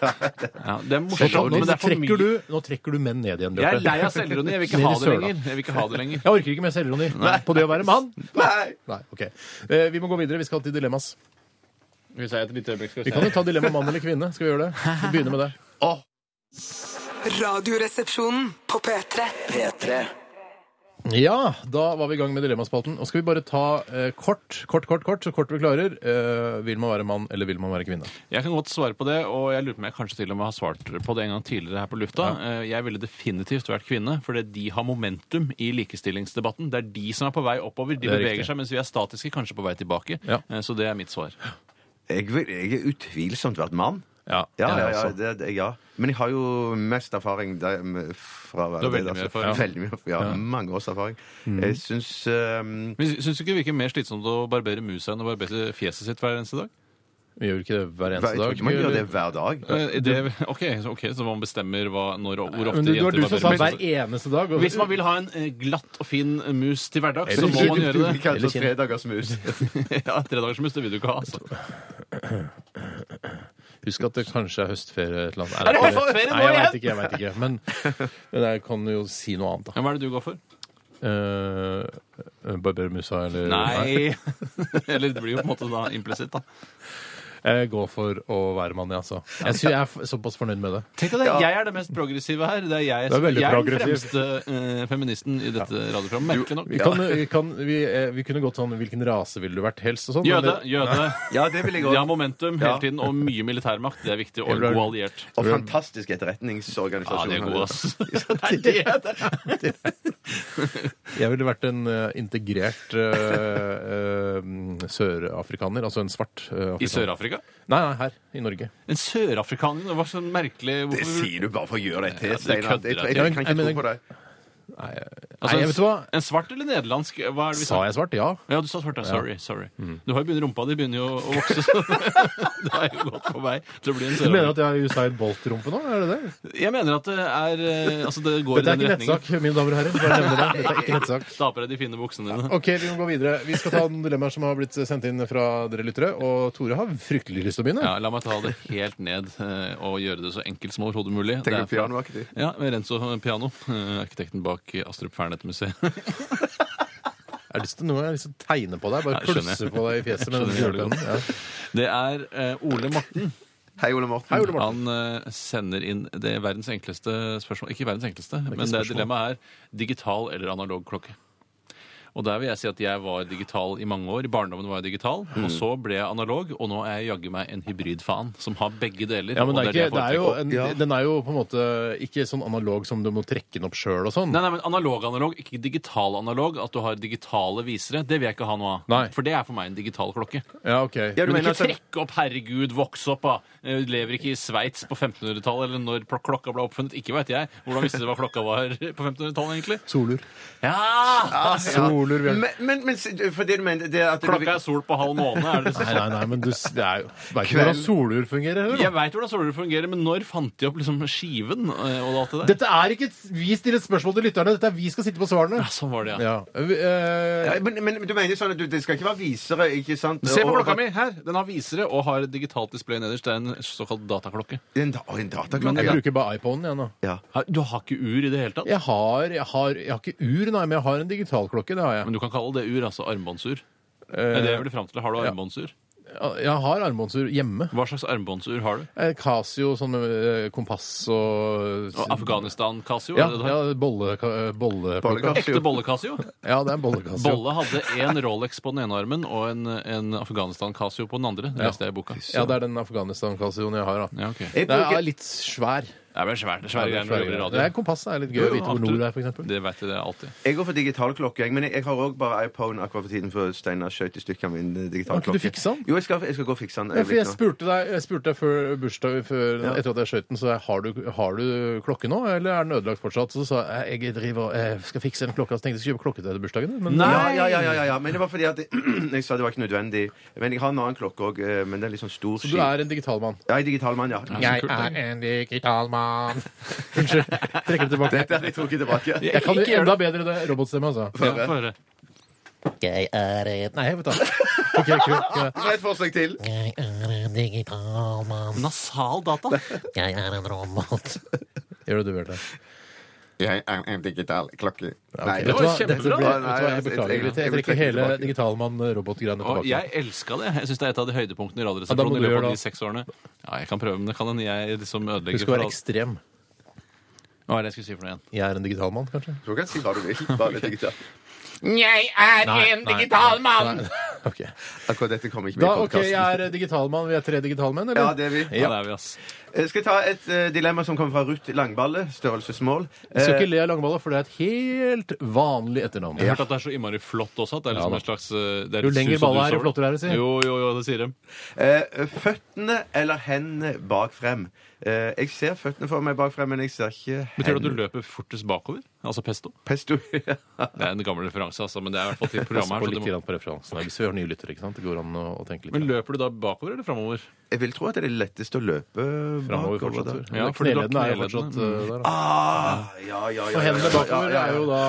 [laughs] Ja, det er Nå, morsomt, nå, men det er for trekker mye. du, nå trekker du menn ned igjen, Jeg er lei av Bjarte. selvironi. Jeg vil ikke Ned i ha det søla. lenger. Jeg vil ikke ha det lenger. Jeg orker ikke mer selvironi på det å være mann. [laughs] Nei! Nei, ok. Eh, vi må gå videre. Vi skal til dilemmas. Hvis jeg et lite øyeblikk skal [laughs] Vi kan jo ta dilemma mann eller kvinne. Skal vi gjøre det? Vi begynner [laughs] med det. Åh, Radioresepsjonen på P3. P3 Ja, da var vi i gang med dilemmaspalten. Og skal vi bare ta eh, kort, kort, kort, kort, så kort vi klarer. Eh, vil man være mann, eller vil man være kvinne? Jeg kan godt svare på det, og jeg lurer på om jeg kanskje til og med har svart på det en gang tidligere her på lufta. Eh, Jeg ville definitivt vært kvinne, fordi de har momentum i likestillingsdebatten. Det er de som er på vei oppover. De Det er beveger riktig. seg, mens vi er statiske, kanskje på vei tilbake. Ja. Eh, Så det er mitt svar. jeg, vil, jeg er utvilsomt vært mann. Ja, Ja, ja, ja, altså. det, det, ja. Men jeg har jo mest erfaring der, med- fra Du har veldig det, mye erfaring. Veldig mye, ja, Mange års erfaring. Jeg syns ehm, Men Syns du ikke det virker mer slitsomt å barbere musa enn å barbere fjeset sitt hver eneste dag? Vi gjør ikke det hver Jeg eneste tror dag. ikke man gjør det hver dag. Eh, Det, ok, så, ok, så man bestemmer hva, når og hvor ofte Men det var jenter du som sa hver barberer musa. sånn- eneste dag. og- Hvis man vil ha en eh, glatt og fin mus til hverdags, så Eller- må man [laughs] Du [laughs] gjøre vil det. [laughs] kalle Eller det kinn. tredagersmus. Ja, Tredagersmus, det vil du ikke ha. Altså. Husk at det kanskje er høstferie et eller annet. Er det høstferie nå Nei, jeg igjen? veit ikke. jeg vet ikke. Men, [laughs] men jeg kan jo si noe annet, da. Ja, Hva er det du går for? Uh, Barbermusa eller Nei. [laughs] Eller det blir jo på en måte da implisitt, da. Jeg går for å være mann, ja, altså. Jeg, synes jeg er f- såpass fornøyd med det. Tenk deg det, Jeg er det mest progressive her. Det er jeg, Du er som- veldig jeg er den progressiv. fremste eh, feministen i dette radioprogrammet. Merkelig nok. Vi, kan, vi, kan, vi, eh, vi kunne gått sånn Hvilken rase ville du vært helst? og sånn. men Jøde, det- jøde. Ja, det vil jeg De har òg. momentum hele Ja. tiden, og mye militærmakt. Det er viktig. Og Jeg ble- god alliert. Og fantastisk Ja, altså. etterretningsorganisasjon. de er har [laughs] gode, de. ass. Det er det. Jeg ville vært en eh, integrert eh, eh, sørafrikaner. Altså en svart eh, I afrikaner. Sør-Afrika? Nei, nei, her. I Norge. En sørafrikaner? Det var sånn merkelig Det Hvorfor- sier du bare for å gjøre deg til, du Steinar. kødder deg Jeg, jeg, til. jeg Jeg kan ikke mener- tro på deg. Nei, eh, Altså, nei jeg vet du hva? En svart eller nederlandsk? Hva er det vi Sa sa? jeg svart? Ja. Mm. Ja, du sa svart. ja. Sorry. sorry. Du har jo begynt rumpa di begynner jo å vokse, så [laughs] det er jo godt på vei til å bli en Du mener at sørafrikaner. jeg har Usain Bolt-rumpe nå? Er det det? Jeg mener at det er eh, Altså, det går i Dette er den ikke retningen. nettsak, mine damer og herrer. Bare nevne det. Dette er ikke nettsak. Ta på deg de fine buksene dine. Ok, Vi må gå videre. Vi skal ta noen dilemmaer som har blitt sendt inn fra dere lyttere. Og Tore har fryktelig lyst til å begynne. Ja, la meg ta det helt ned eh, og gjøre det så enkelt som overhodet mulig. Det er Tenker du pianoaktig? fra- Ja, Renzo Piano, eh, arkitekten bak Astrup Fearnett-museet. Jeg har lyst til, noe, jeg har lyst til å tegne på deg. Bare Nei, skjønner klusse jeg. på deg i fjeset med den Skjønner jeg kjølepennen. Ja. [laughs] Det er eh, Ole Morten. Hei, Ole Morten. Hei, Ole Morten. Han eh, sender inn det verdens enkleste spørsmål. Ikke verdens enkleste, men det spørsmål. dilemmaet er digital eller analog klokke. Og der vil jeg si at jeg var digital i mange år. I barndommen var jeg digital, Hmm. og så ble jeg analog, og nå er jeg jaggu meg en hybridfan som har begge deler. Ja, men og det er ikke, jeg det er jo foretrekker. en, Ja. Den er jo på en måte ikke sånn analog som du må trekke den opp sjøl og sånn. Nei, nei, men Analog-analog, ikke digital-analog. At du har digitale visere. Det vil jeg ikke ha noe av. Nei. For det er for meg en digital klokke. Ja, ok. Ja, Men du mener ikke altså- trekke opp 'herregud, voks opp', da. Eh, Du lever ikke i Sveits på 1500-tallet, eller når pl- klokka ble oppfunnet. Ikke veit jeg. Hvordan visste du hva klokka var [laughs] på 1500-tallet, egentlig? Solur. Ja! Ja, ja. Soler, Bjørn. Men, men, men se- for det du mener det er at du- Klokka er sol på halv måne, er det det som Nei, nei, nei, men du s- det er jo Veit ikke Kveld. hvordan solur fungerer heller. Jeg da. veit hvordan soler fungerer, men når fant de opp liksom skiven eh, og alt det der? Dette er ikke et, Vi stiller spørsmål til lytterne. Dette er vi skal sitte på svarene. Ja, sånn var det, ja. Ja. Vi, eh, Ja, men, men du mener sånn at du, det skal ikke være visere, ikke sant? Se på Og- klokka mi! her, Den har visere og har et digitalt display nederst. Det er en såkalt dataklokke. En, da, en dataklokke. jeg ja. bruker bare iPoden, jeg nå. Ja. Har- Du har ikke ur i det hele tatt? Jeg har, jeg, har, jeg har ikke ur, nei, men jeg har en digitalklokke. Det har jeg. Men du kan kalle det ur, altså armbåndsur. Det er det jeg vil frem til. Har du armbåndsur? Eh, Jeg har armbåndsur hjemme. Hva slags armbåndsur har du? Eh, Casio, sånn med eh, kompass og Og Afghanistan-Casio? Ja, er det det du ja har? bolle, ka- eh, bolle, Bolleklokke. Ekte bolle-Casio? Ja, det er en bollekasse. Bolle hadde én Rolex på den ene armen og en, en Afghanistan-Casio på den andre. Det leste jeg i boka. Ja, det er den Afghanistan-kassionen jeg har. da. Ja, ok. Den Jeg bruker, er litt svær. Det er svært, svære greier når du jobber i Det radio. er kompasset er litt gøy å vite hvor nord det er, f.eks. Det vet jeg det alltid. Jeg går for digital klokke, jeg, men jeg, jeg har òg bare iPhone akkurat for tiden, for Steinar skjøt i stykker min eh, Kan digital ikke du klokke. fikse den? Jo, jeg skal, jeg skal gå og fikse den. Ja, for jeg øyeblikk nå. spurte deg, jeg spurte deg før bursdag, før, Ja. etter at jeg skjøt den, så jeg, har, du, har du klokke nå, eller er den ødelagt fortsatt? Så sa jeg jeg driver, jeg skal fikse en klokke, så tenkte jeg skulle kjøpe klokke til bursdagen. Men Nei! Ja, ja, ja, ja, ja, ja, men det var fordi at [clears throat] jeg, jeg sa det var ikke nødvendig. Men jeg har en annen klokke òg, men den er litt sånn stor. Så du er en digital mann. Ja, jeg er digital mann, ja. [laughs] Jeg er en digital mann. Unnskyld. Trekker det tilbake. Dette hadde jeg trukket [laughs] tilbake. Jeg kan jo enda bedre det robotstemme, altså. Ja, få høre. Jeg er en, Nei, vet du. Ok, kult. Et forsøk til. jeg er en digital mann. Nasal data. Jeg er en robot. Gjør det du vil det. Jeg er en digital klokke. Nei, Vet du hva, kjempebra. dette blir- Nei, vet du altså, hva, jeg jeg- beklager. jeg- jeg- litt. Jeg jeg vil trekker trekke hele tilbake. digital mann-robotgreiene [laughs] Og tilbake. jeg elska det. Jeg syns det er et av de høydepunktene i Ja, da må du Radioresepsjonen. i løpet gjøre av det. de seks årene. Ja, jeg kan prøve, men det kan hende jeg liksom Du ødelegger skal for være alt. ekstrem. Hva er det jeg skulle si for noe igjen? Jeg er en digital mann, kanskje? Du kan si hva du vil. Bare [laughs] digital. Jeg er en digital mann! Ok. Akkurat dette kommer ikke med Da, i ok, jeg podkasten. er digitalmann. Vi er tre digitalmenn, eller? Ja, det er vi. Ja, det er vi, ass. Jeg skal ta et eh, dilemma som kommer fra Ruth Langballe, størrelsesmål. Vi skal ikke le av Langeballer, for det er et helt vanlig etternavn. Jeg har hørt at det er så innmari flott også. At det er Ja, liksom da. en slags, eh, det er Jo litt lenger sus og balla er, dus jo over det. flottere er det, sier. Jo, jo, jo, det sier de. Eh, føttene eller hendene bak frem? Eh, jeg ser føttene for meg bak frem, men jeg ser ikke Betyr det at hendene. du løper fortest bakover? Altså pesto? Pesto. Det er en gammel referanse, altså, men det er i hvert fall til Pass programmet på her. Så litt du må... grann på referansen. her, Hvis vi har nye lyttere, ikke sant? Det går an å, å tenke litt. Men løper du da bakover eller framover? [laughs] Jeg vil tro at det er lettest å løpe Framover bakover. fortsatt. da. Tor. Ja, fordi du har Kneledene er jo kneledene. fortsatt uh, der. da. Ah, ja, ja, ja, Og ja, hendene ja, bakover ja, ja, ja. er jo da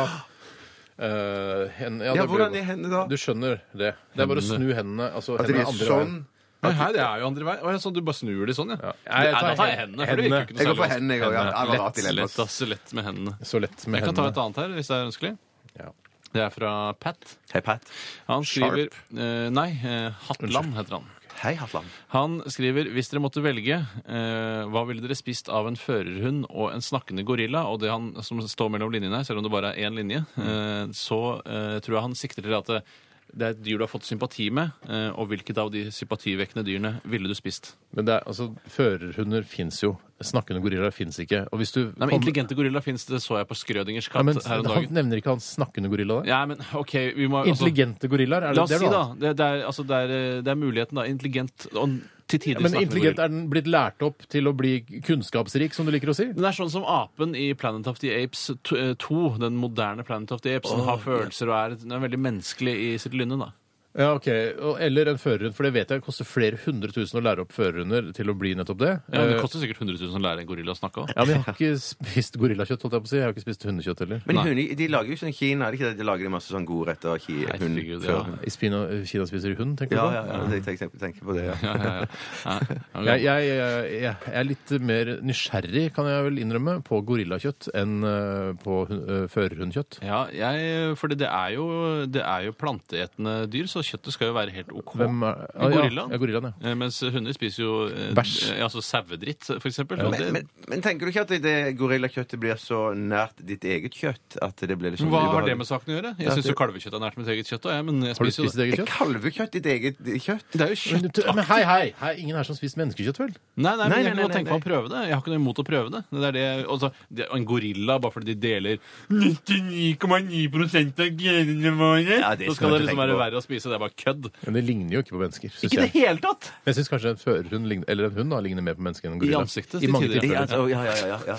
eh, hen, ja, Ja, det blir hvordan jo- er hendene da? Du skjønner det. Det er bare å snu hendene. Altså, At de hendene er andre sånn? veien. Nei, her, det er jo andre vei. Å, ja, sånn, du bare snur de sånn, ja. Nei, jeg Nei, tar da tar jeg hen- hendene. For det virker hendene. ikke Jeg noe går for særlig. hendene, jeg òg. Ja. Det var rart Lett, dilemma. lett, ass. Lett med hendene. Så lett med Jeg kan ta et hendene. annet her, hvis det er ønskelig. Ja. Det er fra Pat. Hei, Pat. Han skriver eh, Nei, eh, Hatland heter han. Hei, Hatland. Han skriver hvis dere måtte velge, eh, hva ville dere spist av en førerhund og en snakkende gorilla? Og det han som står mellom linjene her, selv om det bare er én linje, Mm. eh, så eh, tror jeg han sikter til at det det er et dyr du har fått sympati med, eh, og hvilket av de sympativekkende dyrene ville du spist? Men det er, altså, førerhunder fins jo. Snakkende gorillaer fins ikke. Og hvis du Nei, men kommer- Intelligente gorilla fins, det så jeg på Schrødingers ja, katt men, her om Han dagen. nevner ikke han snakkende gorilla der? Ja, men ok, vi må altså- Intelligente gorillaer? Er det La oss det si, du da. har? Det, det, er, altså, det, er, eh, det er muligheten, da. Intelligent og til tider Men snakkende intelligent, gorilla. er den blitt lært opp til å bli kunnskapsrik, som du liker å si? Den er sånn som apen i Planet of the Apes t- eh, 2, den moderne Planet of the Apes. Den har følelser og er, den er veldig menneskelig i sitt lynne, da. Ja, ok. Og, eller en førerhund, for det vet jeg koster flere hundre tusen å lære opp førerhunder til å bli nettopp det. Ja, men Eh, det koster sikkert 100 000 å lære en gorilla å snakke òg. ja, men jeg har ikke spist gorillakjøtt, holdt jeg på å si. Jeg har ikke spist hundekjøtt heller. Men Nei. hunder, de lager jo sånn Kina, er det ikke det? De lager de masse sånn gode retter av ki- hund Herregud, før ja. hund. I Spina, Kina spiser de hund, tenker du Ja, på? ja, ja. Jeg tenker, tenker på det, ja. [laughs] Ja, ja, ja. Ja, Jeg, jeg, jeg, jeg er litt mer nysgjerrig, kan jeg vel innrømme, på gorillakjøtt enn eh, på hun- eh, førerhundkjøtt. ja, jeg, fordi det er, jo, det er jo planteetende dyr, så kjøttet skal jo være helt OK. Hvem er Ah, Men gorillaen? Ja, ja, gorillaen, ja. Eh, Mens hunder spiser jo eh, Bæsj. eh, Altså sauedritt, for eksempel. og Men, det- men, men tenker du ikke at det gorillakjøttet blir så nært ditt eget kjøtt at det blir liksom Hva har ubehagelig? det med saken å gjøre? Jeg syns jo kalvekjøtt er nært mitt eget kjøtt. og Jeg, men jeg Har du spiser jo spist ditt det. eget Er kjøtt? kalvekjøtt ditt eget kjøtt? Det er Men, jo kjøtt. du- men hei, hei! hei ingen her som spiser menneskekjøtt, vel? Nei, nei, men jeg Nei, kan nei, godt nei, tenke meg å prøve det. Jeg har ikke noe imot å prøve det. det, er det altså, det og en gorilla, bare fordi de deler 99,9 av genene våre, Ja, det så skal skal det liksom jeg tenke være på. verre å spise. Det er bare kødd. Men det ligner jo ikke på mennesker. Synes Ikke i det jeg. hele tatt! Men jeg syns kanskje en førerhund ligner, eller en hund da, ligner mer på mennesker enn en I gorilla. ansiktet I til mange tider. tilfeller. altså, ja, ja, ja, ja.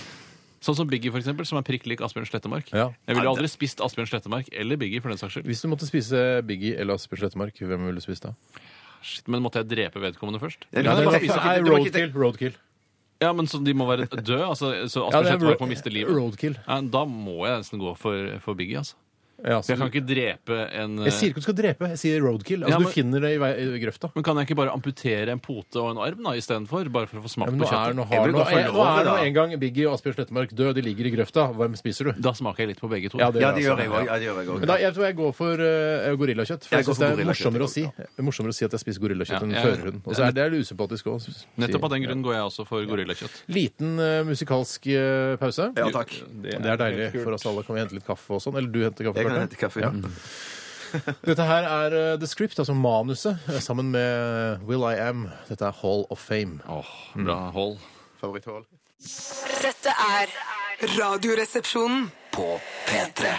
Sånn som Biggie, for eksempel, som er prikk lik Asbjørn Slettemark. Ja. Jeg ville aldri spist Asbjørn Slettemark eller Biggie, for den saks skyld. Hvis du måtte spise Biggie eller Asbjørn Slettemark, hvem ville du spist da? Shit, men måtte jeg drepe vedkommende først? Ja, Nei, du må nei, ikke tenke- nei, du må ikke tenke- roadkill. roadkill. Ja, men så de må være døde? Altså, så Ja, Asbjørn det er Slettemark må miste ro- livet? roadkill. Ja, da må jeg nesten gå for, for Biggie, altså. Ja, så- For jeg kan ikke drepe en jeg sier ikke du skal drepe, jeg sier roadkill. Altså, Ja, men- Du finner det i, vei, i grøfta. Men kan jeg ikke bare amputere en pote og en arm da, istedenfor? Bare for å få Ja, smak men nå er, på kjøttet? nå Jeg har, vil nå, gå for er, nå er nå loven, da. en gang Biggie og Asbjørn Slettemark død, de ligger i grøfta. Hvem spiser du? Da smaker jeg litt på begge to. Ja, det Ja, det altså. gjør jeg òg. Ja, det gjør jeg også. Men da, jeg tror jeg går for eh, gorillakjøtt. For Jeg jeg, går synes for det er gorillakjøtt, morsommere å, si, jeg morsommere å si at jeg spiser gorillakjøtt Ja, enn jeg- førerhund. Og så er det er det usympatisk òg. Nettopp av den grunn går jeg også for gorillakjøtt. Liten eh, musikalsk eh, pause. Ja, takk. Det er deilig for oss alle. Kan vi hente litt kaffe og sånn? Eller du henter kaffe? Jeg kan Bjarte? hente kaffe. Ja. Dette her er eh, The Script, altså manuset, eh, sammen med Will I Am. Dette er Hall of Fame. [laughs] Mm. Åh, bra hold. Favoritthold. Dette er Radioresepsjonen. På P3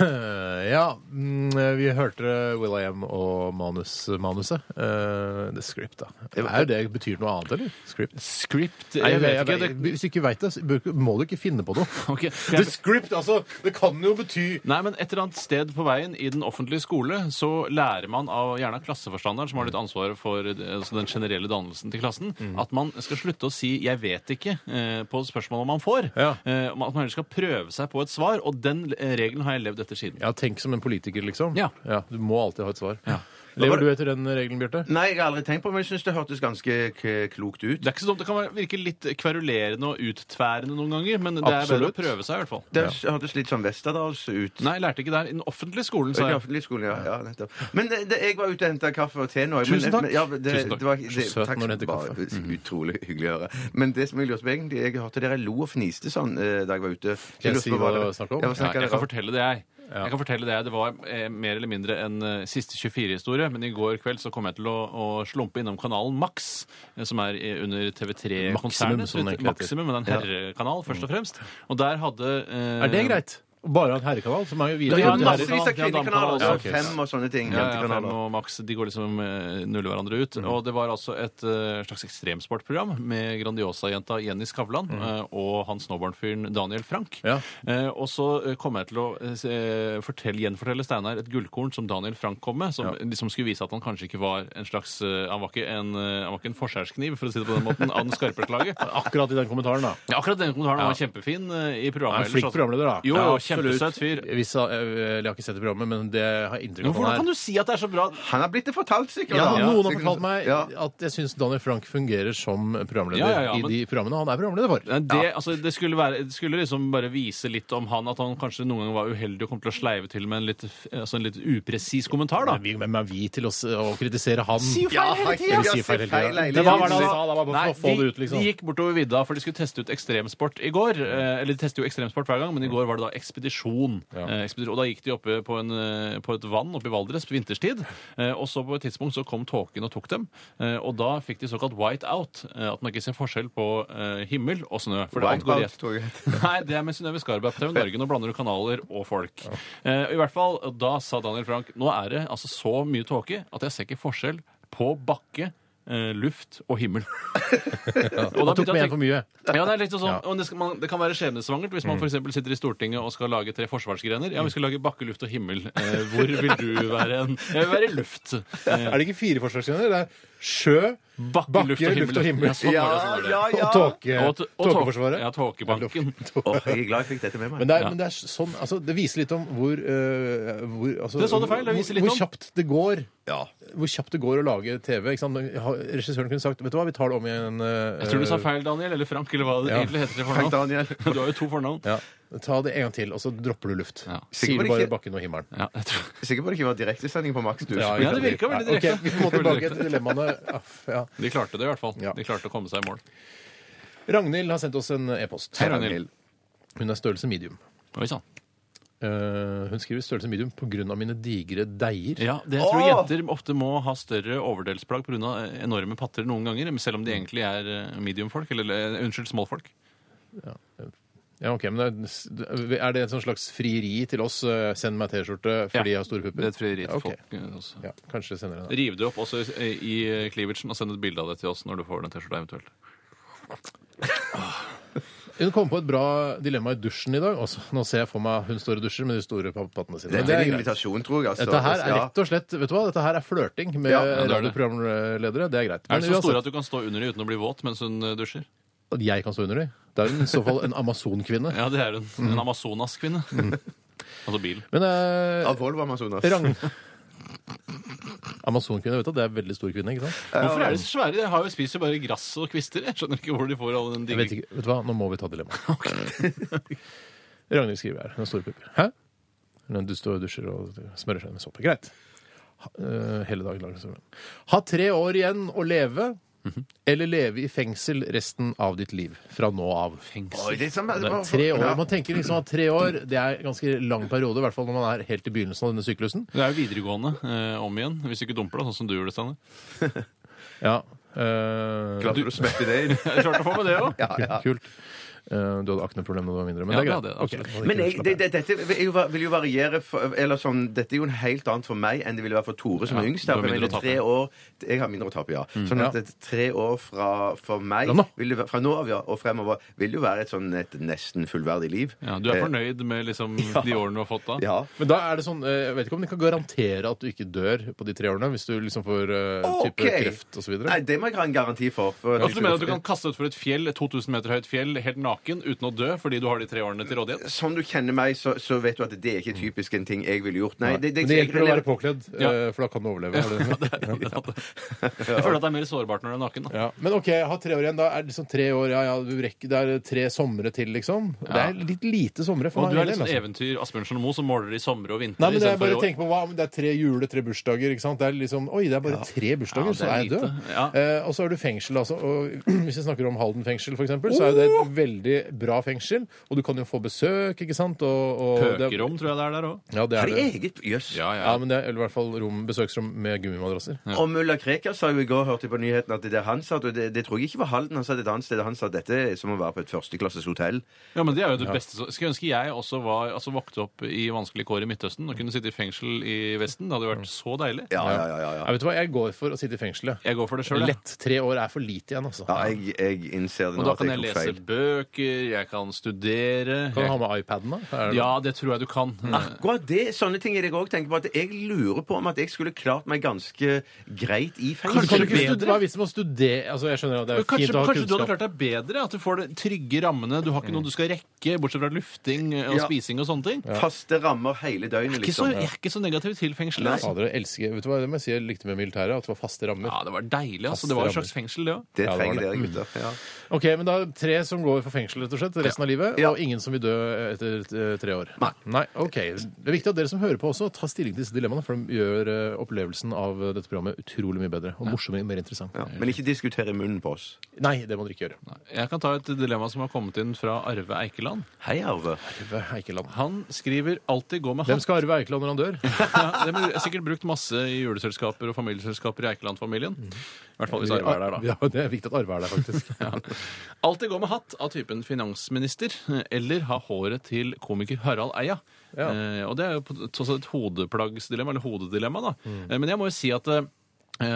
Eh, Ja, mm, vi hørte Will.i.am og manus, manuset. Eh, The Script, da. Er jo det betyr noe annet, eller? Script? Script Nei, jeg jeg vet vet ikke. det- [laughs] Det, hvis du ikke veit det, så bør- må du ikke finne på noe. Ok, for The jeg- Script, altså! Det kan jo bety Nei, men et eller annet sted på veien i den offentlige skole så lærer man av gjerne av klasseforstanderen, som har litt Mm. ansvaret for eh, altså den generelle dannelsen til klassen, at man skal slutte å si 'jeg vet ikke' eh, på spørsmålet man får. Ja. Eh, At man heller skal prøve seg på et svar, og den eh, regelen har jeg levd etter siden. Ja, tenk som en politiker, liksom. Ja. Du må alltid ha et svar. Ja. Lever du etter den regelen, Bjarte? Nei, jeg har aldri tenkt på det, men jeg syns det hørtes ganske k klokt ut. Det er ikke så dumt, det kan være- virke litt kverulerende og uttverende noen ganger, men det er bedre Absolutt. å prøve seg i hvert fall. Det hørtes litt sånn Westerdals ut. Nei, jeg lærte ikke der. I den offentlige skolen, sa I jeg. offentlig skole, ja. ja nettopp. Men det, det, jeg var ute og henta kaffe og te nå. Tusen men- takk. Men, ja, det, Tusen takk. Det var, det, Så søt takk når du skal henter du ha. Utrolig hyggelig å høre. Men det som jeg lurte på egentlig, jeg hørte dere lo og fniste sånn eh, da jeg var ute. Skal jeg lurte si på hva det- det var snakk om? Ja, hva Ja, snakket jeg dere kan om? fortelle det, jeg. Jeg kan fortelle Det jeg. Det var eh, mer eller mindre en eh, siste 24-historie, men i går kveld så kom jeg til å, å slumpe innom kanalen Max, eh, som er eh, under Maximum, TV3-konsernet. som den egentlig heter. Mm. Maximum, men det er en herrekanal, først og fremst. Og der hadde eh, Er det greit? Bare ha en herrekanal? Som er jo videre. Det er Det jo er- masse- Massevis av kvinnekanaler. Ja, altså, ok. Fem og sånne ting. Ja, ja, Fem jentekanaler. og Max de går liksom eh, nuller hverandre ut. Mm. Og det var altså et eh, slags ekstremsportprogram med Grandiosa-jenta Jenny Skavlan eh, og han snowboardfyren Daniel Frank. Mm. Ja. Eh, og så eh, kommer jeg til å eh, se- fortelle, gjenfortelle Steinar et gullkorn som Daniel Frank kom med, som liksom skulle vise at han kanskje ikke var en slags eh, Han var ikke en, eh, han var ikke en forskjærskniv, for å si det på den måten, av den skarpe [laughs] slaget. Akkurat i den kommentaren, da. Ja, akkurat den kommentaren var kjempefin eh, Han i er programmet. en flink ellers, altså. programleder, da. Jo, Ja, jo, absolutt. kjempesøt fyr. Hvis, han- eh, jeg har ikke sett det programmet, men det har jeg inntrykk av Men at Hvordan han kan er. du si at det er så bra? Han har blitt det fortalt, sikkert. Ja, da. Noen har Sikkert- fortalt meg Ja. at jeg syns Daniel Frank fungerer som programleder Ja, ja, ja, men- i de programmene han er programleder for. Nei, Det, altså, det, skulle være, det skulle liksom bare vise litt om han, at han kanskje noen ganger var uheldig og kom til å sleive til med en litt, f- altså en litt upresis kommentar. da. Men vi- Hvem er vi til å, s- å kritisere han? Jeg vil si Ja, jeg feil sier hele feil tiden. hele Det var hva han tiden. sa, det var bare for å få de, det ut, liksom. de gikk bortover vidda, for de skulle teste ut ekstremsport i går. Eh, eller de tester jo ekstremsport hver gang, men i går var det da ekspedisjon. Eh, ekspedisjon og da gikk de oppe på, en, eh, på et vann oppe i Valdres på vinterstid. Eh, og så på et tidspunkt så kom tåken og tok dem. Eh, og da fikk de såkalt white out. Eh, at man ikke ser forskjell på eh, himmel og snø. For det alt går i ett. Wipeout, tror jeg. Nei, det er med Synnøve Skarberg på TV Norge. Nå blander du kanaler og folk. Eh, I hvert fall, Da sa Daniel Frank nå er det altså så mye tåke at jeg ser ikke forskjell på bakke, eh, luft og [laughs] himmel. og Han tok med en for mye. Ja, det, er litt sånn, Ja. Mm. og det, skal, man, det kan være skjebnesvangert hvis man for eksempel sitter i Stortinget og skal lage tre forsvarsgrener. Ja, vi skal lage bakke, luft og himmel. Eh, hvor vil du være? En? Jeg vil være i luft. Eh, Er det ikke fire forsvarsgrener? Det er sjø, bakke, luft og himmel. Ja, sånn Ja, var det, sånn var det. ja, ja. og tåke, Eh, Og, t- og tåke- tåkeforsvaret. Ja, tåkebanken. Åh, jeg er glad jeg fikk dette med meg. Men det, er, Ja. men det er sånn, altså, det viser litt om hvor, eh, hvor altså, Det sa du feil, det viser litt hvor, om. hvor kjapt det går. Hvor kjapt det går å lage TV. Ikke sant? Ha- Regissøren kunne sagt vet du hva, vi tar det om igjen. eh, Jeg tror du sa feil, Daniel, eller Frank, eller hva det Ja. egentlig heter til Frank fornavn. Daniel. [laughs] Du har jo to fornavn. Ja. Ta det en gang til, og så dropper du luft. Ja. Sier Sikkert bare ikke- bakken og himmelen. Ja, jeg tror. Sikker på det ikke var direktesending på Max? Du. Ja, det virker [laughs] veldig direkte. ok, vi må tilbake til dilemmaene. Ja, f- Ja. De klarte det i hvert fall. Ja. De klarte å komme seg i mål. Ragnhild har sendt oss en e-post. Hei, Ragnhild. Hun er størrelse medium. Oi sann. Eh, hun skriver størrelse medium pga. mine digre deiger. Ja, det jeg tror jenter ofte må ha større overdelsplagg pga. eh, enorme patter noen ganger, selv om de Mm. egentlig er eh, mediumfolk, eller eh, unnskyld, småfolk. Ja, ok, men det- Er det et sånt slags frieri til oss? eh, Send meg T-skjorte fordi jeg har store pupper? Det er et frieri til Ok. folk. eh, også. Ja, kanskje senere. Da. Riv det opp også i- i eh, cleavagen og send et bilde av det til oss når du får den T-skjorta eventuelt. Hun kom på et bra dilemma i dusjen i dag. Også, nå ser jeg for meg hun står og dusjer med de store pappene sine. Dette er en invitasjon, tror jeg. Altså. Dette her er Ja. rett og slett vet du hva, dette her er flørting med Ja, ja, det er det. radioprogramledere. Det er greit. Er de så store at du kan stå under dem uten å bli våt mens hun eh, dusjer? at jeg kan stå under dem? Det er hun i så fall en amazonkvinne. [laughs] Ja, det er hun. Mm. En amazonaskvinne. [laughs] Altså bil. Men eh, Av Volvo Amazonas. Ragn... Amazonkvinne, vet du, det er veldig stor kvinne, ikke sant? Hvorfor er de så svære? Jeg har jo spiser jo bare gress og kvister. Jeg skjønner ikke hvor de får all den Jeg vet digge ikke, vet du hva, nå må vi ta [laughs] dilemmaet. [laughs] Ragnhild skriver her. Hun har store pupper. Hæ? Hun er- du står og dusjer og smører seg med såpe. Greit. Ha, eh, hele dagen lang. så- Ha tre år igjen å leve, Mhm. eller leve i fengsel resten av ditt liv fra nå av. Oi, det er sånn- Det er tre år. Man tenker liksom at tre år det er en ganske lang periode, i hvert fall når man er helt i begynnelsen av denne syklusen. Det er jo videregående eh, om igjen, hvis du ikke dumper det, sånn som du gjorde, Steinar. Ja, Eh, Klarte du å smette det [laughs] inn? Jeg klarte å få med det òg. Ja, ja. Kult. Eh, du hadde akneproblemer da du var mindre, men det Ja, er det greit. hadde jeg, Ok, må absolutt. du Men ikke jeg, slappe det, det, dette vil jo, va- vil jo variere for, eller sånn, Dette er jo en helt annet for meg enn det ville være for Tore, som Ja, er yngst. du her, har for Jeg mindre å mener, tape. Mm, tre år, jeg har mindre å tape, ja. Sånn at et tre år fra for meg Fra nå? vil det, være- Fra nå av ja, og fremover vil det jo være et sånn et nesten fullverdig liv. Ja, du er fornøyd med liksom, de årene du har fått da? Eh, Ja. Men da er det sånn, eh, Jeg vet ikke om de kan garantere at du ikke dør på de tre årene hvis du liksom får eh, type Ok. kreft osv. Nei, det må jeg ha en garanti for. for at Ja, jeg så du mener at skulle- du kan kaste utfor et fjell, et 2000 meter høyt fjell, helt naken, uten å dø, fordi du har de tre årene til rådighet? Sånn du kjenner meg, så, så vet du at det er ikke typisk en ting jeg ville gjort. Nei, Mm. Men det hjelper å være påkledd, Ja. eh, for da kan du overleve. [laughs] er det sånn? det? Jeg føler at det er mer sårbart når du er naken. Da. Ja. Men OK, jeg har tre år igjen. Da er det liksom tre år, ja, ja, du rekker, det er tre somre til, liksom. Det er litt lite somre for Og du meg. er litt altså. sånn eventyr Asbjørnsen og Moe som måler i sommer og vinter. Nei, men jeg istedenfor i bare år. tenker på hva, men Det er tre jule, tre bursdager. ikke sant? Det er liksom, Oi, det er bare tre bursdager, Ja, det så er er jeg lite. død. Ja. Eh, og så er du fengsel, altså. Og [clears throat] hvis vi snakker om Halden fengsel, for eksempel, så er det et veldig bra fengsel. Og du kan jo få besøk, ikke sant? Og, og det- Pøkerom tror jeg det er der òg. Ja, det er Har de det. eget Jøss. Ja, ja. Ja, men det er eller i hvert fall rom, besøksrom med gummimadrasser. Og mulla Krekar sa jo i går, hørte jeg på nyheten, at det der han satt, og det, det tror jeg ikke var Halden, han satt et annet sted, han sa dette er som å være på et førsteklasses hotell. ja, men det er jo det beste. som- Skulle ønske jeg også var, altså, vokte opp i vanskelige kår i Midtøsten og kunne sitte i fengsel i Vesten. Det hadde jo vært så deilig. Ja, ja, ja, ja, ja. Jeg vet du hva, jeg går for å sitte i fengsel. jeg. Jeg går for det sjøl. Lett tre år er for lite igjen, altså. Ja, jeg, jeg innser det Og nå da at kan jeg jeg tok lese feil. bøker, jeg kan studere. Kan du ha Jeg... med iPaden, da? Er det- Ja, det tror jeg du kan. Mm. Akkurat det, sånne ting er det jeg òg tenker på. At jeg lurer på om at jeg skulle klart meg ganske greit Men i fengsel. Kan du ikke Kanskje bedre? studere? Hva er vitsen med å studere? Altså, jeg skjønner at det er Men Kanskje, fint å ha kanskje du hadde kunnskap. klart deg bedre? At du får de trygge rammene. Du har ikke noe du skal rekke, bortsett fra lufting eh, og Ja. spising og sånne ting. sånn, Faste rammer hele døgnet, Ikke så, liksom. jeg er ikke så negativ til fengsel. Altså. Fader, jeg elsker, vet du hva, Det må jeg si jeg likte med militæret, at det var faste rammer. Ja, det var deilig. altså. Det var jo et slags fengsel, det òg. Det Ja, det var trenger det. dere, gutter. Ja. Ok, men da er det Tre som går for fengsel rett og slett, resten av livet, Ja. og ingen som vil dø etter eh, tre år. Nei. ok. Det er viktig at dere som hører på også, tar stilling til disse dilemmaene, for de gjør eh, opplevelsen av eh, dette programmet utrolig mye bedre og morsommere og mer interessant. Ja. Mm. Men ikke diskutere i munnen på oss. Nei, det må dere ikke gjøre. Jeg kan ta et dilemma som har kommet inn fra Arve Eikeland. Hei, Arve. Arve Eikeland. Han skriver 'alltid gå med Hvem hatt'. skal arve Eikeland når han dør? [laughs] Ja, det blir sikkert brukt masse i juleselskaper og familieselskaper i Eikeland-familien. I hvert fall [laughs] hvis Arve er der, da. Ja, det er viktig at Arve er der, faktisk. [laughs] Alltid gå med hatt av typen finansminister, eller ha håret til komiker Harald Eia. Ja. Eh, og det er jo på- tross alt et hodeplaggsdilemma, eller hodedilemma, da. Mm. Eh, men jeg må jo si at eh,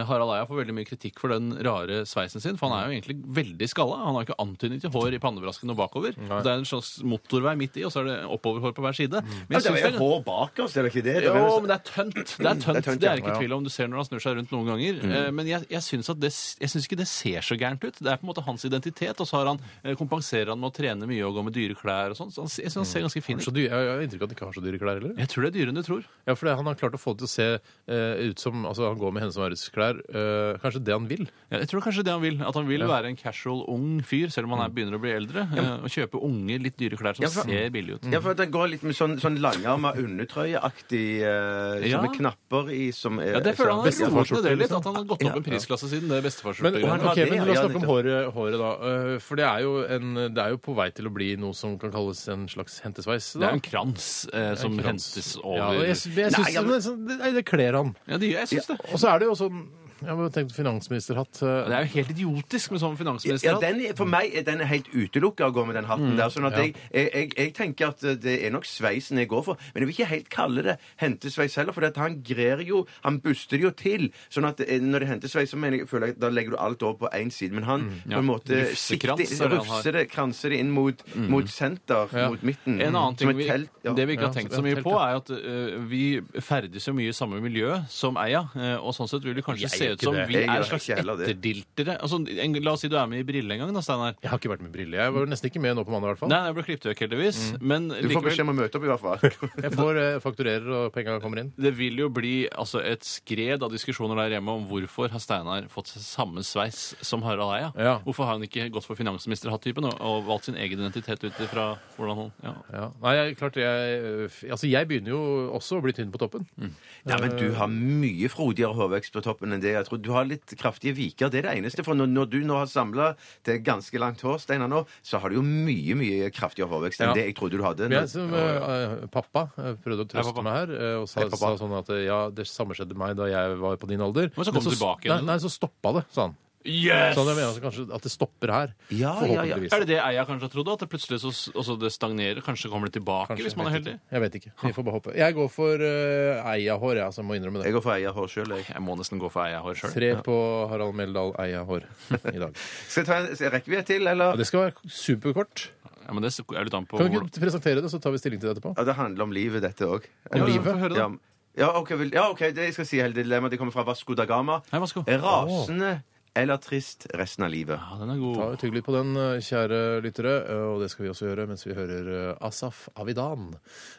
Harald Eia får veldig mye kritikk for den rare sveisen sin, for han er jo egentlig veldig skalla. Han har ikke antydning til hår i pannebrasken og bakover. Det er en slags motorvei midt i, og så er det oppoverhår på hver side. Men jeg Ja, synes det det er er hår bak oss, er det ikke det? sånn- det er jo, vel- men det er tønt. Det er tønt. Det er, tønt, ja. ikke tvil om du ser når han snur seg rundt noen ganger. Eh, Men jeg, jeg syns at det, jeg syns ikke det ser så gærent ut. Det er på en måte hans identitet, og så har han, eh, kompenserer han med å trene mye og gå med dyre klær og sånn. Så han, jeg syns han ser ganske fin Så ut. dyr, jeg har inntrykk av at han ikke har så dyre klær heller. Jeg tror det er dyrere enn du tror. Ja, for det, Han har klart å få det til å se eh, ut som altså Han går med Hennes og Maurits klær. eh, kanskje det han vil. Ja, Jeg tror kanskje det han vil. At han vil være en casual ung fyr, selv om han er, begynner å bli eldre. eh, Og kjøpe unge, litt dyre klær som Ja, for- ser billig ut. Ja, for at den går litt med sånn, sånn langarma undertrøyeaktig eh, Ja. Som med knapper i som er, Ja, Det føler han Ja, er rotet det litt. liksom. At han har gått opp en prisklasse siden det Men, bestefar-skjorta. men, gjorde. han har ok, det, men ja, La oss ja, snakke om nettopp. håret, håret da. eh, For det er, jo en, det er jo på vei til å bli noe som kan kalles en slags hentesveis. Det Da. er jo en krans eh, som krans. hentes Ja, over og jeg, jeg synes, Nei, ja, men- men sånn, det, nei, det kler han. ja, det gjør jeg syns det. Og så er det jo sånn Jeg har tenkt finansministerhatt. eh, Det er jo helt idiotisk med sånn finansminister. Ja, den er, for meg er den helt utelukka å gå med den Mm, hatten der. Sånn at jeg, jeg, jeg, jeg tenker at eh, det er nok sveisen jeg går for. Men jeg vil ikke helt kalle det hentesveis heller, for det at han grer jo Han buster det jo til. Sånn at eh, når det er hentesveis, så mener jeg, føler jeg at da legger du alt over på én side. Men han på en måte Rufsekrans sikter- er det han Mm, har. rufser det, kranser det inn mot, mot senter, mot midten. En annen ting som vi, et telt. Ja. Det vi ikke Ja, har tenkt som så et mye telt, på, ja. er at eh, vi ferdes jo mye i samme miljø som Eia. eh, og sånn sett vil det kanskje Jeg se gjør ut ikke som det. vi Jeg gjør er slags ikke heller det. etterdiltere. Altså, en, la oss si du er med i Brille en gang, da, Steinar. Jeg har ikke vært med briller. Jeg var nesten ikke med nå på mandag, i hvert fall. Nei, jeg ble klippet vekk, heldigvis. Men Mm. Du får beskjed likevel, om å møte opp, i hvert fall. Jeg får eh, fakturerer, og penga kommer inn. det vil jo bli altså, et skred av diskusjoner der hjemme om hvorfor har Steinar fått seg samme sveis som Harald Eia. Ja. Hvorfor har han ikke gått for finansministerhatt-typen og, og valgt sin egen identitet ut ifra hvordan han ja. Ja. Nei, jeg, klart jeg eh, f- Altså, jeg begynner jo også å bli tynn på toppen. [laughs] Ja, men du har mye frodigere hårvekst på toppen enn det. jeg tror. Du har litt kraftige viker. Det er det eneste. For når, når du nå har samla til ganske langt hår, Steinar, nå, så har du jo mye mye kraftigere hårvekst enn Ja. det jeg trodde du hadde. Men jeg som eh, eh, pappa eh, prøvde å trøste pappa. meg her eh, og sa, Hei, pappa. sa sånn at eh, ja, det samme skjedde meg da jeg var på din alder. Men så kom du tilbake nei, igjen. nei, så stoppa det, sa han. Yes! Sånn jeg mener altså kanskje at det stopper her. Ja, ja, ja. forhåpentligvis. Er det det Eia kanskje har trodd? At det plutselig så, altså det stagnerer? Kanskje kommer det tilbake Kanskje, hvis man er jeg vet heldig? ikke. Jeg vet ikke. Vi får bare håpe. Jeg går for uh, Eia-hår, jeg, altså. Må innrømme det. Jeg går for eia hår sjøl, jeg. Jeg må nesten gå for Eia-hår sjøl. Tre på Harald Meldal Eia-hår i [laughs] dag. Skal jeg ta en, rekker vi et til, Ja, eller? det skal være superkort. Ja, men det er jo litt an på Kan vi hvordan ikke presentere det, så tar vi stilling til det etterpå? Ja, det handler om livet, dette òg. Ja, få høre det, da. Ja, ja, OK, vel, ja, ok, det jeg skal si hele dilemmaet. Det kommer fra Vasco da Gama. Hei, Vasco. Rasende eller trist resten av livet. Ja, den er Ta god. og Tygg litt på den, eh, kjære lyttere, eh, og det skal vi også gjøre mens vi hører eh, Asaf Avidan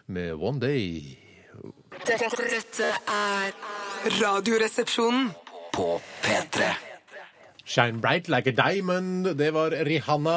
med One Day. Dette, dette er Radioresepsjonen. På P3 Shine bright like a diamond. Det var Rihanna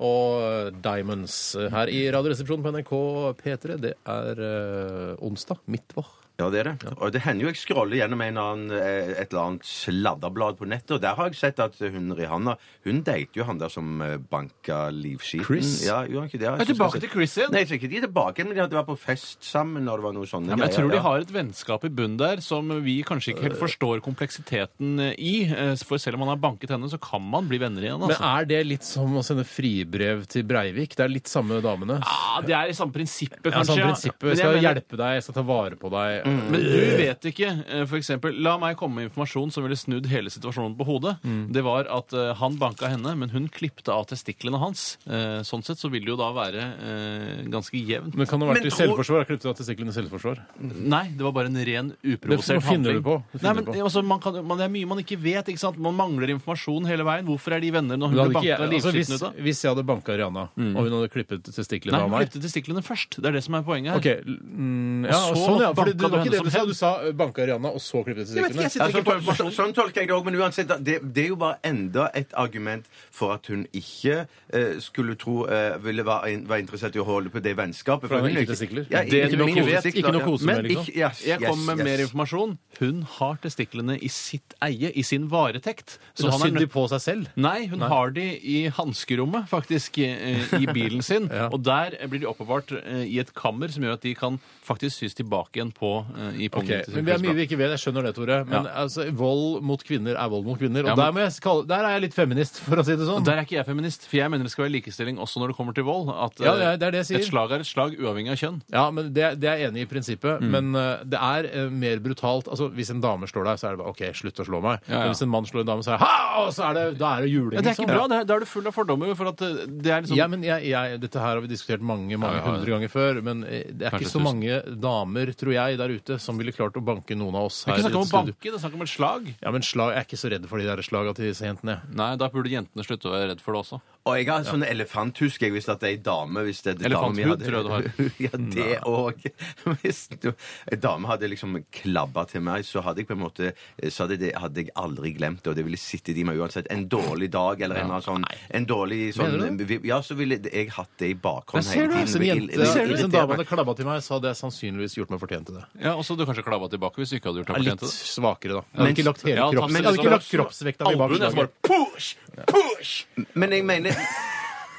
og Diamonds her i Radioresepsjonen på NRK P3. Det er eh, onsdag. Midtvår. Ja, det er det. Og det hender jo jeg scroller gjennom en eller annen, eh, et eller annet sladderblad på nettet, og der har jeg sett at hun Rihanna hun datet jo han der som eh, banka livskiten. Chris? Ja, gjorde han ikke det? Jeg Er synes tilbake jeg- til Chris igjen? Nei, jeg tror ikke de er tilbake, men de hadde vært på fest sammen når det var noe sånne Ja, men jeg greier, tror de ja. har et vennskap i bunn der som vi kanskje ikke helt forstår kompleksiteten i. eh, For selv om man har banket henne, så kan man bli venner igjen. Men Altså. er det litt som å sende fribrev til Breivik? Det er litt samme damene. Ja, det er i samme prinsippet, Ja, kanskje. sånn ja. prinsippet. Men Jeg jeg skal mener- Mm. hjelpe deg, jeg skal ta vare på deg. Men du vet ikke. eh, For eksempel, la meg komme med informasjon som ville snudd hele situasjonen på hodet. Mm. Det var at eh, han banka henne, men hun klipte av testiklene hans. Eh, Sånn sett så vil det jo da være eh, ganske jevnt. Men kan det ha vært Men i tror- selvforsvar? Klippet du av testiklene i selvforsvar? Nei, det var bare en ren Det- uprovosert hva finner handling. du på? Hva Nei, finner men du på? altså, man kan, man, Det er mye man ikke vet. ikke sant? Man mangler informasjon hele veien. Hvorfor er de venner når hun Men ble hadde ikke jeg, banka altså, hvis, livskiten ut av? hvis jeg hadde banka Rihanna, og hun hadde klippet testiklene Nei, av hun meg klippet testiklene først. Det er det som er poenget her. Ok, mm, ja, Og så sånn, ja. For det, banka det du var ikke henne det du som sa. Du sa eh, banka Rihanna, og så klippet Jeg vet testiklene. ikke, jeg sitter Jeg ikke tror på på så, Sånn tolker jeg det òg, men uansett, da- det, det er jo bare enda et argument for at hun ikke eh, skulle tro eh, ville være, in- være interessert i å holde på det vennskapet. For hun hun har er ikke testikler. Ja, Det er ikke ikke noe noe kose- testikler, ikke noe ja. kose Men med, liksom. ikke- yes, Jeg yes, kommer med yes. mer informasjon. Hun har testiklene i sitt eie, i sin varetekt. Så han er sydde nødt- Mm. de på seg selv. Nei, hun har de i hanskerommet, faktisk, eh, i bilen sin. Ja. Og der blir de oppbevart eh, i et kammer som gjør at de kan faktisk sys tilbake igjen på eh, i Ok, pungen. til men sin Vi er mye klesplagg. vi ikke vet. Jeg skjønner det, Tore. Men altså, vold mot kvinner er vold mot kvinner. Og Ja, men- der, må jeg kalle, der er jeg litt feminist, for å si det sånn. Og Der er ikke jeg feminist, for jeg mener det skal være likestilling også når det kommer til vold. At eh, Ja, det er- det er det jeg sier. et slag er et slag uavhengig av kjønn. Ja, men det, det er jeg enig i i prinsippet, Mm. men eh, det er eh, mer brutalt. Altså, Hvis en dame slår deg, så er det bare OK, slutt å slå meg. Ja, ja. Men hvis en mann slår en dame, så er det ha! Og så er det, da er det juling. Men det er ikke liksom. bra. det er- Da er du full av fordommer. For at eh, det er Ja. liksom Ja, men jeg, jeg, dette her har vi diskutert mange mange Ja, ja, ja. hundre ganger før, men eh, det er Kanskje ikke så tusen. mange damer, tror jeg, der ute som ville klart å banke noen av oss her. Det er i ikke snakk om å studio. banke, det er snakk om et slag. Ja, men slag, Jeg er ikke så redd for de der slaga til disse jentene. jeg. Nei, da burde jentene slutte å være redd for det også. Og jeg har sånn elefanthusk jeg, hvis at det er ei dame. Hvis det er Elefanthud, dame hadde- [laughs] tror jeg du har. ja, det òg. [laughs] Hvis du- ei dame hadde liksom klabba til meg, så hadde jeg på en måte Så hadde, det, hadde jeg aldri glemt det, og det ville sittet i meg uansett. En dårlig dag eller en eller annen sånn En dårlig Mener sånn Ja, så ville jeg hatt det i bakhånd Ser du? Hvis en jente, ville ill- ville hvis en irritere dame meg. hadde klabba til meg, så hadde jeg sannsynligvis gjort meg fortjent til det. Ja, Og så hadde du kanskje klabba tilbake hvis du ikke hadde gjort Jeg deg er fortjent Litt til det. svakere, da. Jeg hadde Men- ikke lagt hele Ja, tafse kropps- jeg hadde som- ikke lagt kroppsvekta mi bak Albuen er som slaget. Push! Push! Men jeg mener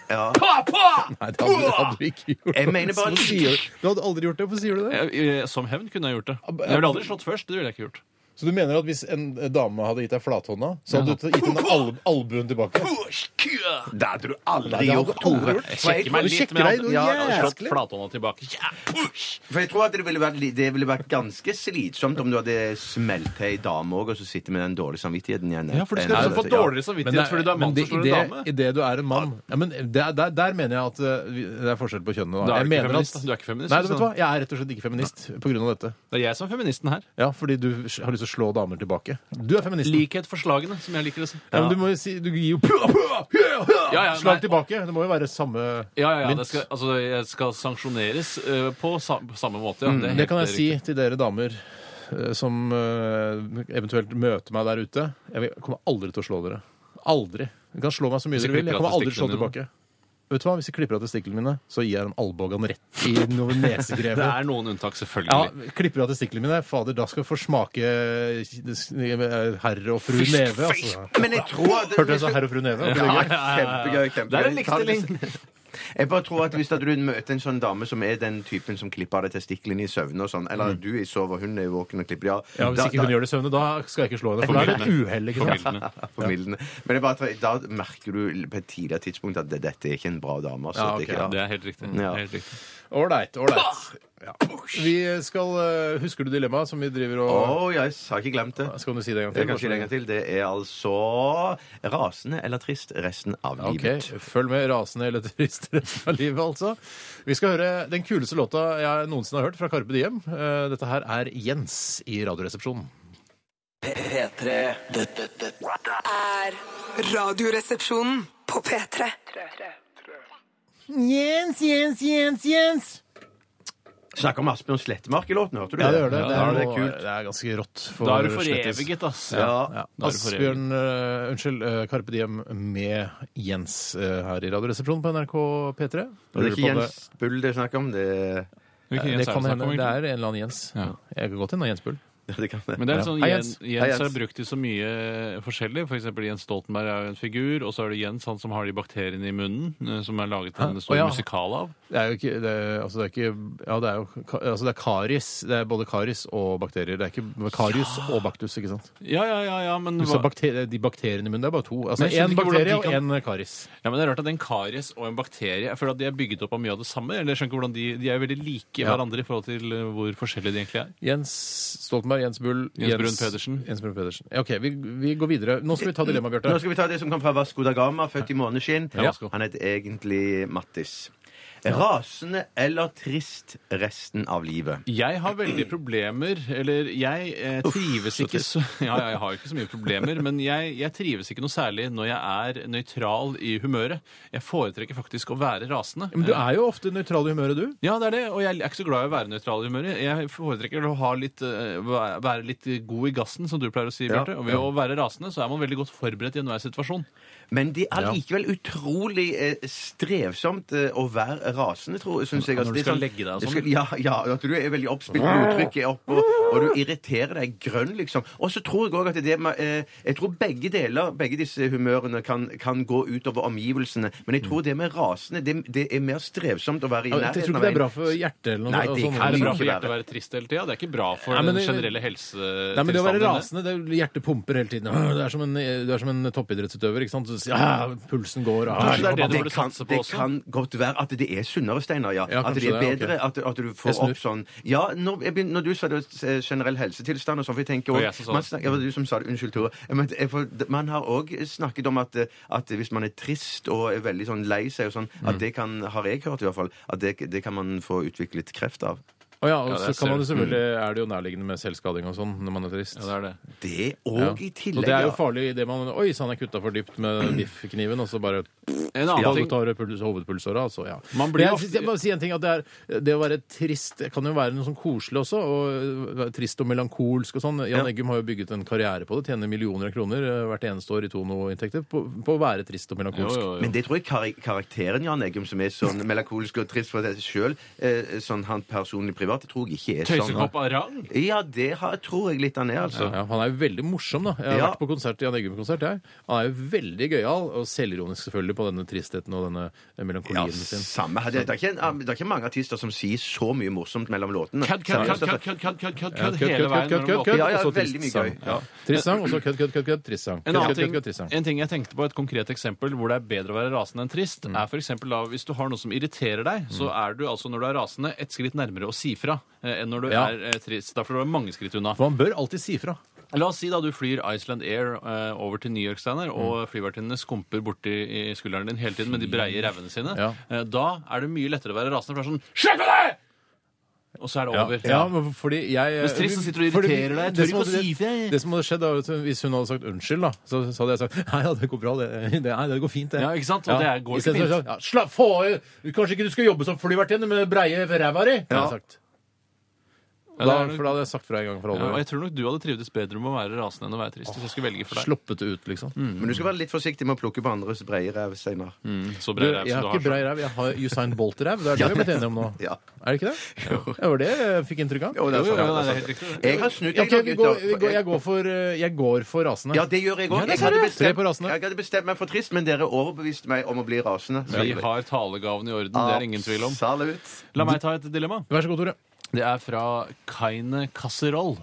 ja. Nei, det hadde, det hadde du ikke gjort. Jeg mener bare- Hvorfor sier du- Du hadde aldri gjort det. Hvorfor sier du det? Jeg, jeg, Eh, som hevn kunne jeg gjort det. Jeg ville aldri slått først. det ville jeg ikke gjort. Så du mener at hvis en dame hadde gitt deg flathånda, så hadde du gitt henne al albuen tilbake? Det hadde du Nei, aldri det hadde gjort, du aldri Tore. gjort. For jeg- Ikke meg Du litt, sjekker men deg, du jeg hadde- jeg hadde slått jæsklig. flathånda tilbake. Ja, push! For jeg tror at det ville vært, li- det ville vært ganske slitsomt om du hadde smelt til ei dame òg, og så sitter med den dårlige samvittigheten igjen. Ja, for du skal Enn- altså få Ja. dårligere Men samvittighet fordi du er mann det- som slår i en det- dame. I det du er en mann. Ja, men der, der, der mener jeg at eh, vi- det er forskjell på kjønnene. Da er jeg du ikke mener feminist, da. Du er ikke feminist, Nei, du vet sånn. hva? Jeg er rett og slett ikke feminist på grunn av dette. Det er jeg som er feministen her. Ja, Fordi du har lyst til å slå damer tilbake. Du er feminist. Likhet for slagene, som jeg liker å si. Ja, men du må jo si Du gir jo [laughs] pua, pua, pua, pua, Ja, ja, slag nei. tilbake. Det må jo være samme Ja, ja, ja, mynt. det skal, altså, jeg skal sanksjoneres eh, på sa på samme måte. Ja. er Det kan helt jeg si riktig. til dere damer eh, som eh, eventuelt møter meg der ute. Jeg vil- kommer aldri til å slå dere. Aldri. Dere kan slå meg så mye Hvis dere jeg vil. Jeg klipper kommer av aldri til å slå testiklene tilbake. Vet du hva, Hvis jeg klipper av testiklene mine, så gir jeg dem albuene rett i noe [laughs] Det nesegrevet. er noen unntak, selvfølgelig. Ja, klipper av testiklene mine. Fader, da skal jeg få smake eh, herre og fru Neve. Altså. Men jeg tror at Hørte jeg sa herre og fru Neve? Ja, kjempegøy, kjempegøy. Der er likestilling. Jeg bare tror at hvis at du møter en sånn dame som er den typen som klipper av deg testiklene i søvne og sånn, eller du er i sov og hun er våken og klipper de av Mm. Ja, Hvis da- ikke hun da- gjør det i søvne, da skal jeg ikke slå henne. For da er det et uhell. ikke sant? Formildende. formildende. Men jeg bare, tror- da merker du på et tidligere tidspunkt at det, dette er ikke en bra dame. Altså, Ja, Det er ok, ikke, Det er helt riktig. Ja. Helt riktig. Ålreit, ålreit. Ja. Vi skal eh, Husker du dilemmaet som vi driver og Å, jeg har ikke glemt det. Skal du si det en gang til? Jeg kan si det en gang til. Det er altså rasende eller trist resten av Ok, livet. Følg med rasende [laughs] eller trist resten av livet, altså. Vi skal høre den kuleste låta jeg noensinne har hørt fra Carpe Diem. Eh, Dette her er Jens i Radioresepsjonen. P3. Dette, dette, Er Radioresepsjonen på P3. Jens, Jens, Jens, Jens! Snakk om Asbjørn Slettmark i låten, hørte du Ja, det gjør det. Ja, Det ja, er, det er noe- kult. det er ganske rått. for Da er du Slettes. foreviget, ass. Ja. Da er du foreviget. Asbjørn eh, Unnskyld, eh, Carpe Diem med Jens eh, her i Radioresepsjonen på NRK P3. Og det er Lurer på ikke om Jens Bull det er snakk om. Det, Hvilken Eh, Jens Det er kan snakk om, hende. Det egentlig? er en eller annen Jens. Ja. Jeg kan godt hende det er Jens Bull. det kan det. Men det er sånn, Hei, Jens, Jens. Jens, Hei, Jens. er brukt i så mye forskjellig. For eksempel Jens Stoltenberg er jo en figur, og så er det Jens, han som har de bakteriene i munnen, eh, som er laget en Hæ? stor Å, ja. musikal av. Det er jo ikke, det er, altså det er ikke Ja, det er jo ka- altså det er karis. Det er både karis og bakterier. Det er ikke karius og baktus, ikke sant? Ja, ja, ja, ja, men, Du sa hva- bakter- de bakteriene i munnen. Det er bare to. Altså Men jeg én skjønner ikke hvordan de bakterie og kan- én karis. ja, men det er rart at en karies og en bakterie Jeg føler at de er bygget opp av mye av det samme. Eller jeg skjønner ikke hvordan De, de er jo veldig like Ja. hverandre i forhold til eh, hvor forskjellige de egentlig er. Jens Stoltenberg, Jens Bull Jens Brun Pedersen. Jens Brun Pedersen. Ja, OK, vi, vi går videre. Nå skal vi ta dilemmaet, Nå Bjarte. skal vi ta det som kom fra Vasco da Gama, født i måneskinn. Ja, Vasco. Han het egentlig Mattis. Rasende eller trist resten av livet? Jeg har veldig problemer Eller jeg eh, trives ikke så [laughs] Ja, ja, jeg har ikke så mye problemer, men jeg, jeg trives ikke noe særlig når jeg er nøytral i humøret. Jeg foretrekker faktisk å være rasende. Men du er jo ofte nøytral i humøret, du. Ja, det er det, og jeg er ikke så glad i å være nøytral i humøret. Jeg foretrekker å ha litt, eh, væ- være litt god i gassen, som du pleier å si, Ja. Bjarte. Og ved å være rasende så er man veldig godt forberedt i enhver situasjon. Men det er likevel utrolig eh, strevsomt eh, å være rasende, tror syns jeg. Ja, når Altså, du det er skal legge deg og du sånn. skal- Ja, ja, at du er veldig oppspilt, blodtrykket er oppe, og, og du irriterer deg grønn, liksom. Og så tror jeg òg at det med eh, Jeg tror begge deler, begge disse humørene, kan, kan gå utover omgivelsene. Men jeg tror det med rasende, det, det er mer strevsomt å være i Jeg tror ikke nærheten av det er en- bra for hjertet eller noe. Nei, det og sånn. kan Er det bra Ikke for hjertet å være. være trist hele tida? Det er ikke bra for Nei, men den det- generelle Nei, men Det å være helsetilstanden. rasende, det, hjertet pumper hele tiden. Åh, Det er som en, du er som en toppidrettsutøver. ikke sant? Du sier, «Ah, pulsen går. ah, Kanskje det er det du det, burde kan, satse på det også? kan godt være at det er sunnere, Steinar. Ja. Ja, at det kanskje det, er ok. bedre at, at du Jeg får snur. opp sånn Ja, når, jeg begynner, når du sa det eh, generell helsetilstand og sånn, for jeg tenker Og også- jeg som sa man det. snak- ja, det var du som sa det. Unnskyld, Tore. Eh, Men jeg får- man har òg snakket om at, eh, at hvis man er trist og er veldig sånn lei seg og sånn, Mm. at det kan, har jeg hørt i hvert fall, at det, det kan man få utviklet kreft av. Å ja, og Ja, så det kan man jo ser- selvfølgelig, er det jo nærliggende med selvskading og sånn når man er trist. Ja, det er det. Det Ja. òg, i tillegg. og det er jo ja. farlig i det man Oi sann, jeg kutta for dypt [clears throat] med biffkniven, og så bare En annen ja, du ting tar puls, hovedpulsåra, altså. Ja. Man blir Men jeg, ofte- jeg må si en ting, at det, er, det å være trist kan jo være noe sånn koselig også. Og være trist og melankolsk og sånn. Jan Eggum har jo bygget en karriere på det. Tjener millioner av kroner eh, hvert eneste år i Tono-inntekter på, på å være trist og jo, melankolsk. jo, jo. Men det tror jeg kar karakteren Jan Eggum, som er [laughs] sånn melankolsk og trist for seg sjøl, eh, sånn han personlig privat, det tror jeg ikke er sånn. Tøysekopp av rang? Ja, det har, tror jeg litt han er, altså. Ja, han er jo veldig morsom, da. Jeg har Ja. vært på konsert, Jan Eggum-konsert. jeg. Han er jo veldig gøyal, og selvironisk selvfølgelig på denne tristheten og denne eh, Ja, melankolien sin. samme her. Det, det, er ikke, en- det er ikke mange artister som sier så mye morsomt mellom låtene. Kødd, kødd, kødd, kødd, kødd, kødd, kødd, kødd, kødd, kødd, hele kødd, veien kødd, mellom kødd, kødd. låtene. Ja, ja, og så veldig mye trist gøy. Ja. Trist sang, og så kødd, kødd, kødd, kødd, trist sang. En Kødd, annen kødd, ting, kødd, kødd, trist sang. en ting jeg tenkte på, et konkret eksempel hvor det er bedre å være rasende enn trist, Mm. er for eksempel da, hvis du har noe som irriterer deg, så er du altså når du er rasende et skritt nærmere å si fra eh, enn når du Ja. er eh, trist. Da får du være mange skritt unna. For man bør alltid si fra. La oss si da du flyr Iceland Air eh, over til New York, Steiner, og Mm. flyvertinnene skumper borti i skulderen din hele tiden med de breie revene sine. Ja. Eh, da er det mye lettere å være rasende, for det er sånn Slipp meg! Og så er det Ja, over. ja, men fordi jeg Men trist, så sitter du og Fordi- irriterer deg. Jeg det tør som ikke å hadde- si fra, jeg. Det som hadde skjedd, da, vet du, hvis hun hadde sagt unnskyld, da, så, så hadde jeg sagt [laughs] Nei, ja, det går bra, det. det- Nei, det går fint, det. Ja, ikke sant? Og det er- I går stedet ikke for å fint. si, Ja, slapp, få, kanskje ikke du skal jobbe som flyvertinne med breie ræva di? hadde jeg sagt. Ja, Da, det er nok- for da hadde jeg sagt fra en gang for Ja, og alle. jeg tror nok du hadde trivdes bedre med å være rasende enn å være trist. Hvis jeg skulle velge for deg. Sluppet det ut, liksom. Mm. Men du skal være litt forsiktig med å plukke på andres breie ræv, Steinar. Mm. Du, Så bred ræv jeg som har ikke du har. brei ræv, jeg har Usain Bolt-ræv. [laughs] Det er det vi har blitt enige om nå. Ja. Er det ikke [laughs] det? Det var det jeg fikk inntrykk av. Jo, det Jo, er jo, jo, sant, det er det er sant. helt riktig. Jeg har snudd Ja, meg, ok, vi går, gutter. vi går, jeg, går for, eh, jeg går for rasende. Ja, det gjør jeg òg. Jeg, ser det. Tre hadde bestemt- på rasende. jeg hadde bestemt meg for trist, men dere overbeviste meg om å bli rasende. Vi har talegaven i orden, det er ingen tvil om. Absolutt. La meg ta et dilemma. Vær så god, Tore. Det er fra Kaine Kasseroll.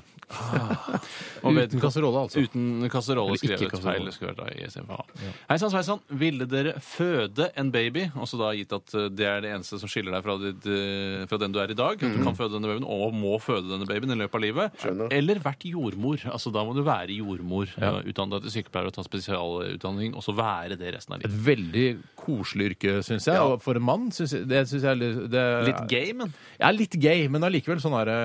Uten kasserolle, altså. Uten kasserolle Eller ikke skrevet kasserolle. feil. det skulle vært i stedet for A. Hei sann, sveisann. Ville dere føde en baby, også da gitt at eh, det er det eneste som skiller deg fra, ditt, eh, fra den du er i dag, at du kan føde denne babyen og må føde denne babyen i løpet av livet, eller vært jordmor? Altså da må du være jordmor, ja. utdanne deg til sykepleier og ta spesialutdanning, og så være det resten av Et livet. veldig koselig yrke, syns jeg. Og for en mann syns jeg det synes jeg er litt det, Litt gay, men. Ja, litt gay, men allikevel sånn er det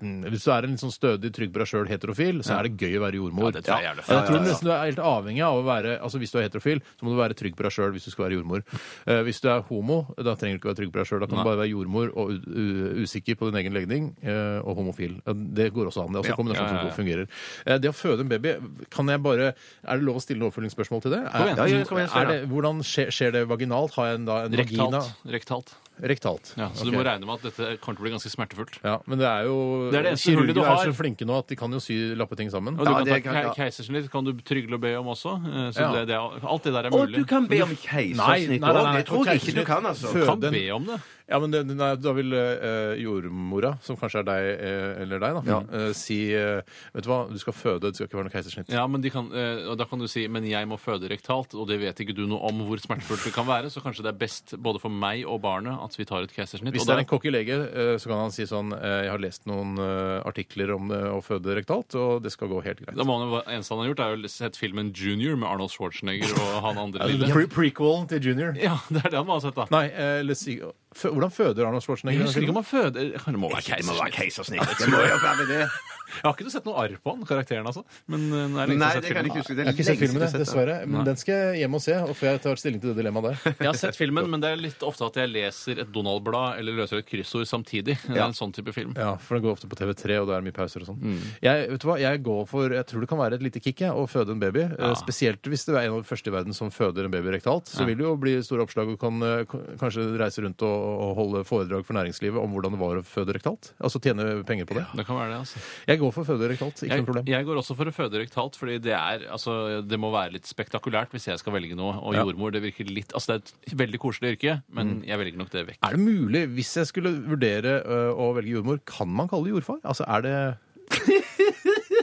mm, Hvis du er en litt sånn stødig, trygg på deg sjøl heterofil, så er det gøy å være jordmor. Ja, det tror jeg er jævlig jeg tror nesten du er helt avhengig av å være Altså Hvis du er heterofil, så må du være trygg på deg sjøl hvis du skal være jordmor. Eh, hvis du er homo, da trenger du ikke være trygg på deg sjøl. Da kan du bare være jordmor og u u usikker på din egen legning, eh, og homofil. Eh, Det går også an. Det er også en kombinasjon Ja, ja, ja. som fungerer. Eh, det å føde en baby, kan jeg bare Er det lov å stille noen oppfølgingsspørsmål til det? Er, igjen. Ja, ja, kom igjen, er det, hvordan skjer, skjer det vaginalt? Har jeg en, da en vagina? Rektalt. Rektalt. Rektalt. Ja, så du Ok. må regne med at dette kommer til å bli ganske smertefullt. Ja, men det er jo Det er det eneste Kirurger hullet du er har. så flinke nå at de kan jo sy lappeting sammen. Og du Ja, kan det ta kan- ja. kei- keisersnitt, kan du trygle og be om også. eh, Så Ja. det, det, er- alt det der er Og mulig. du kan be om keisersnitt Nei, nei, nei, òg. nei, Det tror jeg ikke keisersnitt. du kan, altså. Fø- kan den- be om det. Ja, men det, nei, da vil eh, jordmora, som kanskje er deg eh, eller deg, da, eh, si eh, Vet du hva, du skal føde, det skal ikke være noe keisersnitt. Ja, men de kan, eh, og Da kan du si men jeg må føde rektalt, og det vet ikke du noe om hvor smertefullt det kan være, så kanskje det er best både for meg og barnet at vi tar et keisersnitt. Hvis Og det er en da- cocky lege, eh, så kan han si sånn eh, Jeg har lest noen eh, artikler om eh, å føde rektalt, og det skal gå helt greit. da må han, jo- eneste han har gjort, er jo sett filmen Junior med Arnold Schwarzenegger og han andre lille. Pre Prequelen til junior. Ja, det er det han må ha sett, da. Nei, eh, eller si fø, Hvordan føder Arnold Jeg Schwarzenegger? husker ikke om han føder Det må være Det må være keisersnitt. keisersnitt. Det må jo være det. Jeg har ikke sett noe arr på han, karakteren, altså. Men eh, nå er det lenge siden jeg Nei, har sett det kan filmen. jeg ikke huske. Det Jeg er har ikke sett lenge siden filmen, jeg jeg, har sett det. dessverre. Men den skal jeg hjem og se, og før jeg tar stilling til det dilemmaet [laughs] der. Jeg har sett filmen, men det er litt ofte at jeg leser et Donald-blad eller løser et kryssord samtidig. Det er en sånn type film. Ja, for den går ofte på TV3, og det er mye pauser og sånn. Jeg, vet du hva, jeg går for Jeg tror det kan være et lite kick jeg, å føde en baby. Eh, Spesielt hvis du er en av de første i verden som føder en baby rektalt. Så vil det jo bli store oppslag, og kan eh, k- kanskje reise rundt og, og holde foredrag for næringslivet om hvordan det var å føde rektalt. Altså tjene penger på det. Det kan være det, altså. Jeg går for føde rektalt, ikke Jeg, noe problem. jeg går også for å føde rektalt, fordi det er altså, det må være litt spektakulært hvis jeg skal velge noe. Og Ja. jordmor, det virker litt Altså, det er et veldig koselig yrke, men jeg velger nok det vekk. Er det mulig, hvis jeg skulle vurdere ø, å velge jordmor, kan man kalle det jordfar? Altså, er det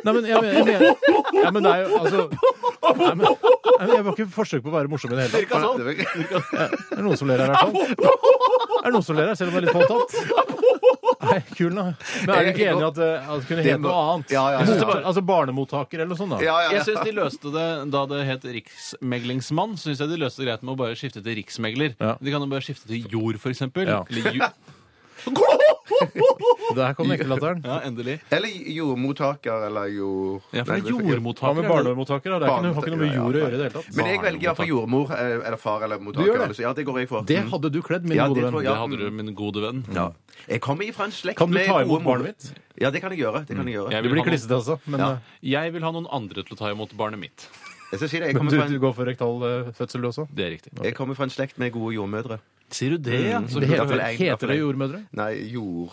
Nei, men jeg mener, jeg mener Ja, men det er jo altså Nei, men, nei, men jeg var ikke forsøk på å være morsom i det hele tatt. Er det noen som ler her, i hvert fall? Er det noen som ler her, selv om det er litt påtatt? Nei, kul, da. Men er du ikke enig i at ø, at det kunne Det hete må- noe annet? Ja, ja, Jeg synes ja. det var- Altså barnemottaker eller noe sånt, da. Ja, ja, Jeg ja. syns de løste det da det het riksmeglingsmann. Synes jeg de løste det greit med å bare skifte til riksmegler. Ja. De kan jo bare skifte til jord, for eksempel. Ja. Eller ju Der kom ekkelatteren. ja, endelig. Eller jordmottaker, eller jord... Ja, for det Nei, er Hva med jordmottaker. er det- barnemottaker? da? Det er ikke noe- har ikke noe med jord å gjøre i det hele tatt. Men jeg velger iallfall jordmor eh, eller far eller mottaker. gjør det? eller så- Ja, det går jeg for. Det Mm. hadde du kledd, min Ja, gode det venn. tror Det hadde du, min gode venn. Ja. Mm. Jeg kommer ifra en slekt Kan du med ta gode imot mor- barnet mitt? Mm. Ja, det kan jeg gjøre. Det kan jeg gjøre. Jeg Det vil blir ha noen- klissete, altså. Men Ja. ø, Jeg vil ha noen andre til å ta imot barnet mitt. Jeg skal si det, jeg Men kommer du, fra du en, går for rektal eh, fødsel, du også? Det er riktig. jeg kommer fra en slekt med gode jordmødre. Sier du det, ja? Det kult å heter høre. vel en- Heter det jordmødre? Nei, jord...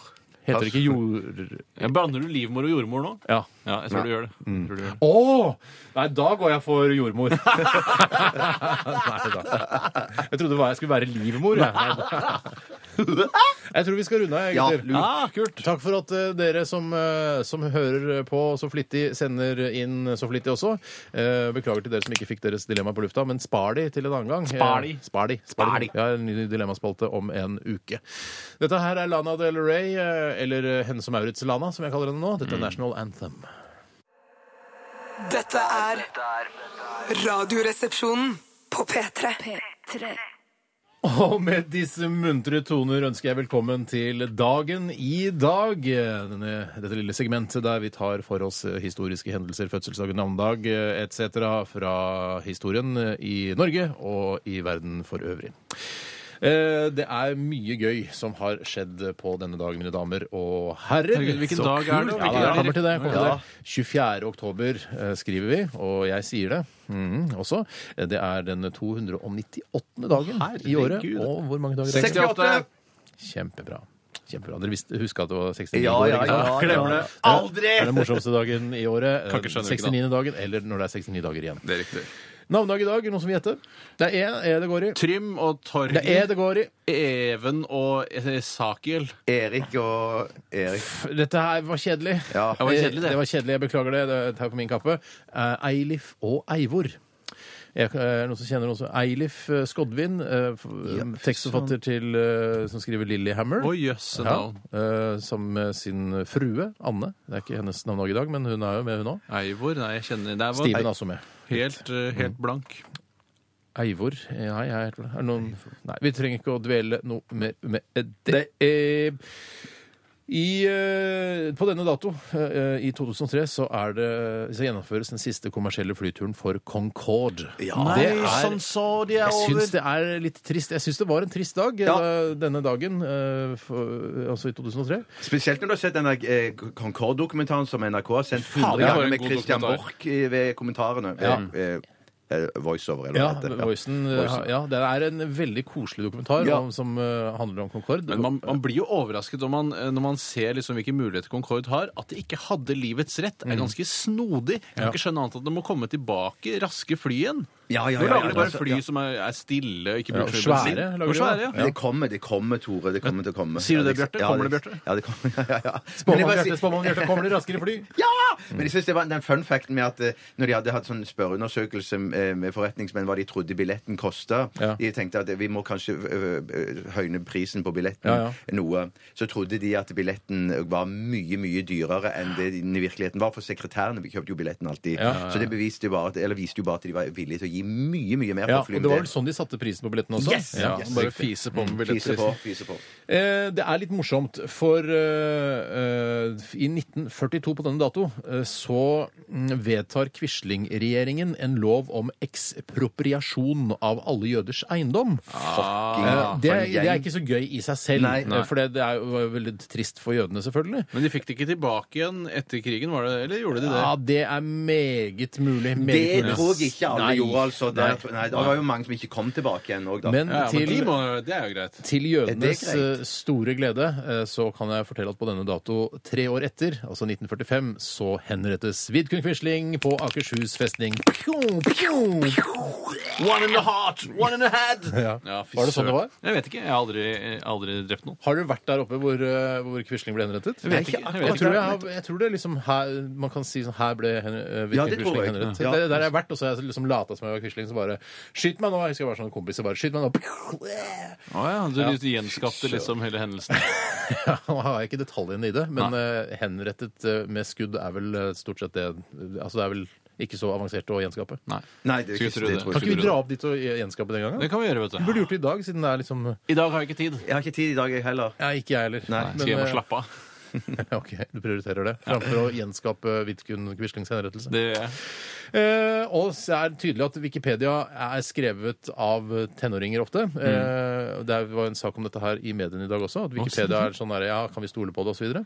Heter det ikke jord... Ja, Blander du livmor og jordmor nå? Ja. Ja, Mm. jeg tror du gjør det. Jeg tror du gjør det. Å! Nei, da går jeg for [laughs] jordmor. Nei da. Jeg trodde det var jeg skulle være livmor. Jeg, Nei, da. jeg tror vi skal runde av, Ja, gutter. Ah, kult! Takk for at eh, dere som, eh, som hører på så flittig, sender inn så flittig også. Eh, beklager til dere som ikke fikk deres dilemma på lufta, men spar de til en annen gang. Spar de. Eh, spar de. Spar de. Jeg har en ny dilemmaspalte om en uke. Dette her er Lana Del Rey, eh, eller eh, henne som Maurits Lana, som jeg kaller henne nå. Dette Mm. er National Anthem. Dette er Radioresepsjonen på P3. P3. Og med disse muntre toner ønsker jeg velkommen til dagen i dag. Denne, dette lille segmentet der vi tar for oss eh, historiske hendelser, fødselsdag, navnedag etc. fra historien eh, i Norge og i verden for øvrig. Eh, Det er mye gøy som har skjedd på denne dagen, mine damer og herrer. Herregud, hvilken Så dag er det, og kult. Ja, hvilken jeg dag? kommer til det. Jeg kommer til Ja. det. 24. oktober eh, skriver vi, og jeg sier det mhm, også. Eh, Det er den 298. dagen i året. Herregud. Og hvor mange dager er det? 68! Kjempebra. Kjempebra. Dere visste, huska at det var 69. Ja, år, ja, ikke sant? ja, Glemmer det Det er den morsomste dagen i året. Kan ikke skjønne 69. dagen, eller når det er 69 dager igjen. Det er riktig. Navnedag i dag, er det noen som vil gjette? Det er E, E det går i. Trym og Det er E Torger. det går i. Even og eh, Sakiel. Erik og Erik. Dette her var kjedelig. Ja. Det var kjedelig, det. Det var kjedelig, Jeg beklager det. Det tar jeg på min kappe. Eh, Eilif og Eivor. Jeg, eh, noen som kjenner noen som Eilif eh, Skodvin, eh, f- tekstforfatter til eh, som skriver Lillyhammer. Å, jøsse ja, navn. eh, Sammen med sin frue Anne. Det er ikke hennes navnedag i dag, men hun er jo med, hun òg. Eivor? Nei, jeg kjenner Det var Stiven er også med. helt, eh, helt blank. Eivor? eh, Nei, jeg er, er det noen, nei, vi trenger ikke å dvele noe mer med det. Eh, I, eh, på denne dato, eh, i 2003, så, er det, så gjennomføres den siste kommersielle flyturen for Concorde. det er, sånn så de jeg syns det er litt trist. Jeg syns det var en trist dag eh, denne dagen, eh, for, altså i 2003. Spesielt når du har sett den der, eh, Concorde-dokumentaren som NRK har sendt det hundre var ganger en med god Christian dokumentar. Borch i- ved kommentarene. Ja. Eh, eh, voiceover, eller Ja, hva det heter. Voicen, eh, Voicen. ja, det er en veldig koselig dokumentar Ja. om, som eh, handler om Concorde. Men man, man blir jo overrasket når man, når man ser liksom hvilke muligheter Concorde har. At de ikke hadde livets rett, er ganske snodig. Jeg Mm. kan Ja. ikke skjønne annet enn at det må komme tilbake raske fly igjen. Ja, ja, Nå ja, ja, lager de bare altså, fly ja. som er, er stille og ikke Ja, bruker så mye svære bensin. lager Og de svære, da. ja. Det kommer, det kommer, Tore. Det kommer til å komme. Sier du det, Ja, Bjarte? Kommer det, Bjarte? Ja, det kommer. [laughs] Ja, ja, ja. Men jeg Spåmann bare Bjarte, Mm. sier- spåmann Bjarte, kommer det raskere fly? Ja! Men jeg synes det var den fun facten med at eh, når de hadde hatt sånn spørreundersøkelse eh, med forretningsmenn hva de trodde billetten kosta Ja. De tenkte at eh, vi må kanskje ø, ø, høyne prisen på billetten Ja, ja. noe. Så trodde de at billetten var mye, mye dyrere enn det den i virkeligheten var. For sekretærene kjøpte jo billetten alltid. Ja, ja, ja. Så det beviste jo bare at, eller viste jo bare at de var villige til å gi mye, mye mer Ja, og for fly. det var vel sånn de satte prisen på billetten også? Yes! Ja. Yes. Bare fise på med Fise på, billetter. fise på. Eh, det er litt morsomt, for eh, eh, i 1942 på denne dato eh, så mm, vedtar Quisling-regjeringen en lov om ekspropriasjon av alle jøders eiendom. Eh, det, Ah, for en det gjeng. er ikke så gøy i seg selv, Nei. eh, for det, det er jo veldig trist for jødene, selvfølgelig. Men de fikk det ikke tilbake igjen etter krigen, var det? Eller gjorde de det? Ja, det er meget mulig. Meget Det mulig. tror jeg ikke alle Nei. gjorde, altså. Det, Nei. nei, det var jo mange som ikke kom tilbake igjen òg, da. Men Ja, men til de må, det er jo greit. Til jødenes Er det greit? eh, store glede eh, så kan jeg fortelle at på denne dato tre år etter, altså 1945, så henrettes Vidkun Quisling på Akershus festning. Pju, pju, pju. One in the heart, one in the head! Ja. fy Var det sånn det søren. var? Jeg vet ikke. Jeg har aldri, aldri drept noen. Har du vært der oppe hvor, eh, hvor Quisling ble henrettet? Jeg vet ikke. Jeg vet Jeg ikke. tror, jeg, har, jeg tror det er liksom her man kan si sånn Her ble hen, eh, Vidkun Ja, det tror Quisling jeg. henrettet. Ja. Det, der har jeg vært, og så har jeg liksom lata som jeg var Quisling, så bare Skyt meg nå! Jeg husker jeg var sånn kompis, så bare Skyt meg nå! Pju. eh. Å ja, du gjenskapte liksom hele hendelsen. [laughs] Ja, nå har jeg ikke detaljene i det, men eh, henrettet eh, med skudd er vel eh, stort sett det Altså det er vel ikke så avansert å gjenskape. [laughs] Nei. Nei, det, er Skulle ikke- tro det det. tror jeg Kan ikke du vi dra opp dit og gjenskape den gangen? Det kan vi gjøre, vet Vi burde du. gjort det i dag, siden det er liksom I dag har jeg ikke tid. Jeg har ikke tid i dag, jeg heller. Nei, ikke jeg heller. Nei, Skal hjem og eh, slappe av. [laughs] OK, du prioriterer det framfor å gjenskape Vidkun Quislings henrettelse. Det [laughs] gjør jeg. Eh, og så er det tydelig at Wikipedia er skrevet av tenåringer ofte. Mm. Eh, det var en sak om dette her i mediene i dag også. At Wikipedia er sånn der, ja, kan vi stole på det, osv.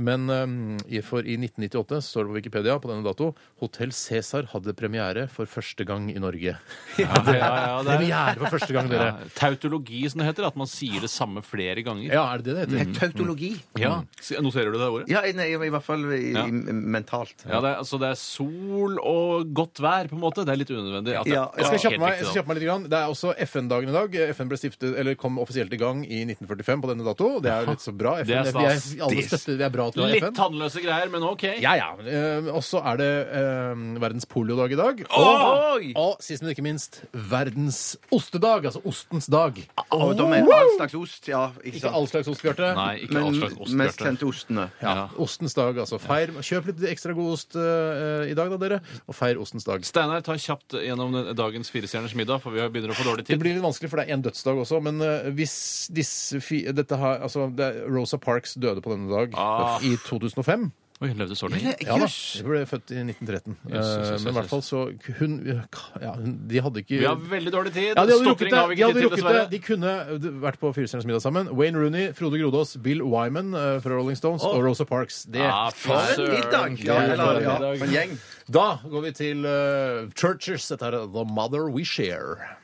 Men eh, i- for i 1998 står det på Wikipedia på denne dato Hotell Cæsar hadde premiere for første gang i Norge. Ja, ja, [laughs] ja, det er, Premiere for første gang, dere! Ja, tautologi, som det heter. At man sier det samme flere ganger. Ja, er det det det heter? Mm. Tautologi. Ja. S- Noterer du det ordet? Ja, nei, i hvert fall i, Ja. i, mentalt. Ja, det er, altså det er sol og godt vær, på en måte. Det er litt unødvendig. at det- Ja, Jeg skal Helt kjappe meg, jeg riktig, skal kjappe meg litt. Grann. Det er også FN-dagen i dag. FN ble stiftet, eller kom offisielt i gang i 1945 på denne dato. Det er jo litt så bra. FN, Det er vi stas. er, alle støtter, vi er bra at vi da. har Litt FN. tannløse greier, men OK. Ja, ja. Eh, Og så er det eh, verdens poliodag i dag. Oi! Og, og sist, men ikke minst, verdens ostedag. Altså ostens dag. Ah, Og da med all slags ost. Ja, ikke Ikke sant? all slags ost, Bjarte. Nei, ikke all Men slags ost. mest Bjarte. kjente ostene. Ja, Ja. ostens dag, altså. Feir, kjøp litt ekstra god ost eh, i dag, da, dere. Og feir ostens dag. Steinar, ta kjapt gjennom den- dagens firestjerners middag, for vi har- begynner å få dårlig Det tid. blir litt vanskelig, for det er en dødsdag også. Men eh, hvis disse fi, dette har, altså, det er Rosa Parks døde på denne dag Ah. i 2005. Å Oi, levde så lenge. Ja da, Jøss! Hun ble født i 1913. Eh, Jøss, jøss, jøss, Men i hvert fall så Hun ja, hun, De hadde ikke Vi har veldig dårlig tid. ja, de hadde rukket Stokring det. har vi De, ikke hadde tid rukket til, det. dessverre. de kunne eh, vært på Firestjerners middag sammen. Wayne Rooney, Frode Grodås, Bill Wyman eh, fra Rolling Stones og Rosa Parks. Det. Ja, For en søren. middag! Ja, Ja, eller, ja, for en middag. for en gjeng. Da går vi til eh, Churches. Dette er The Mother We Share.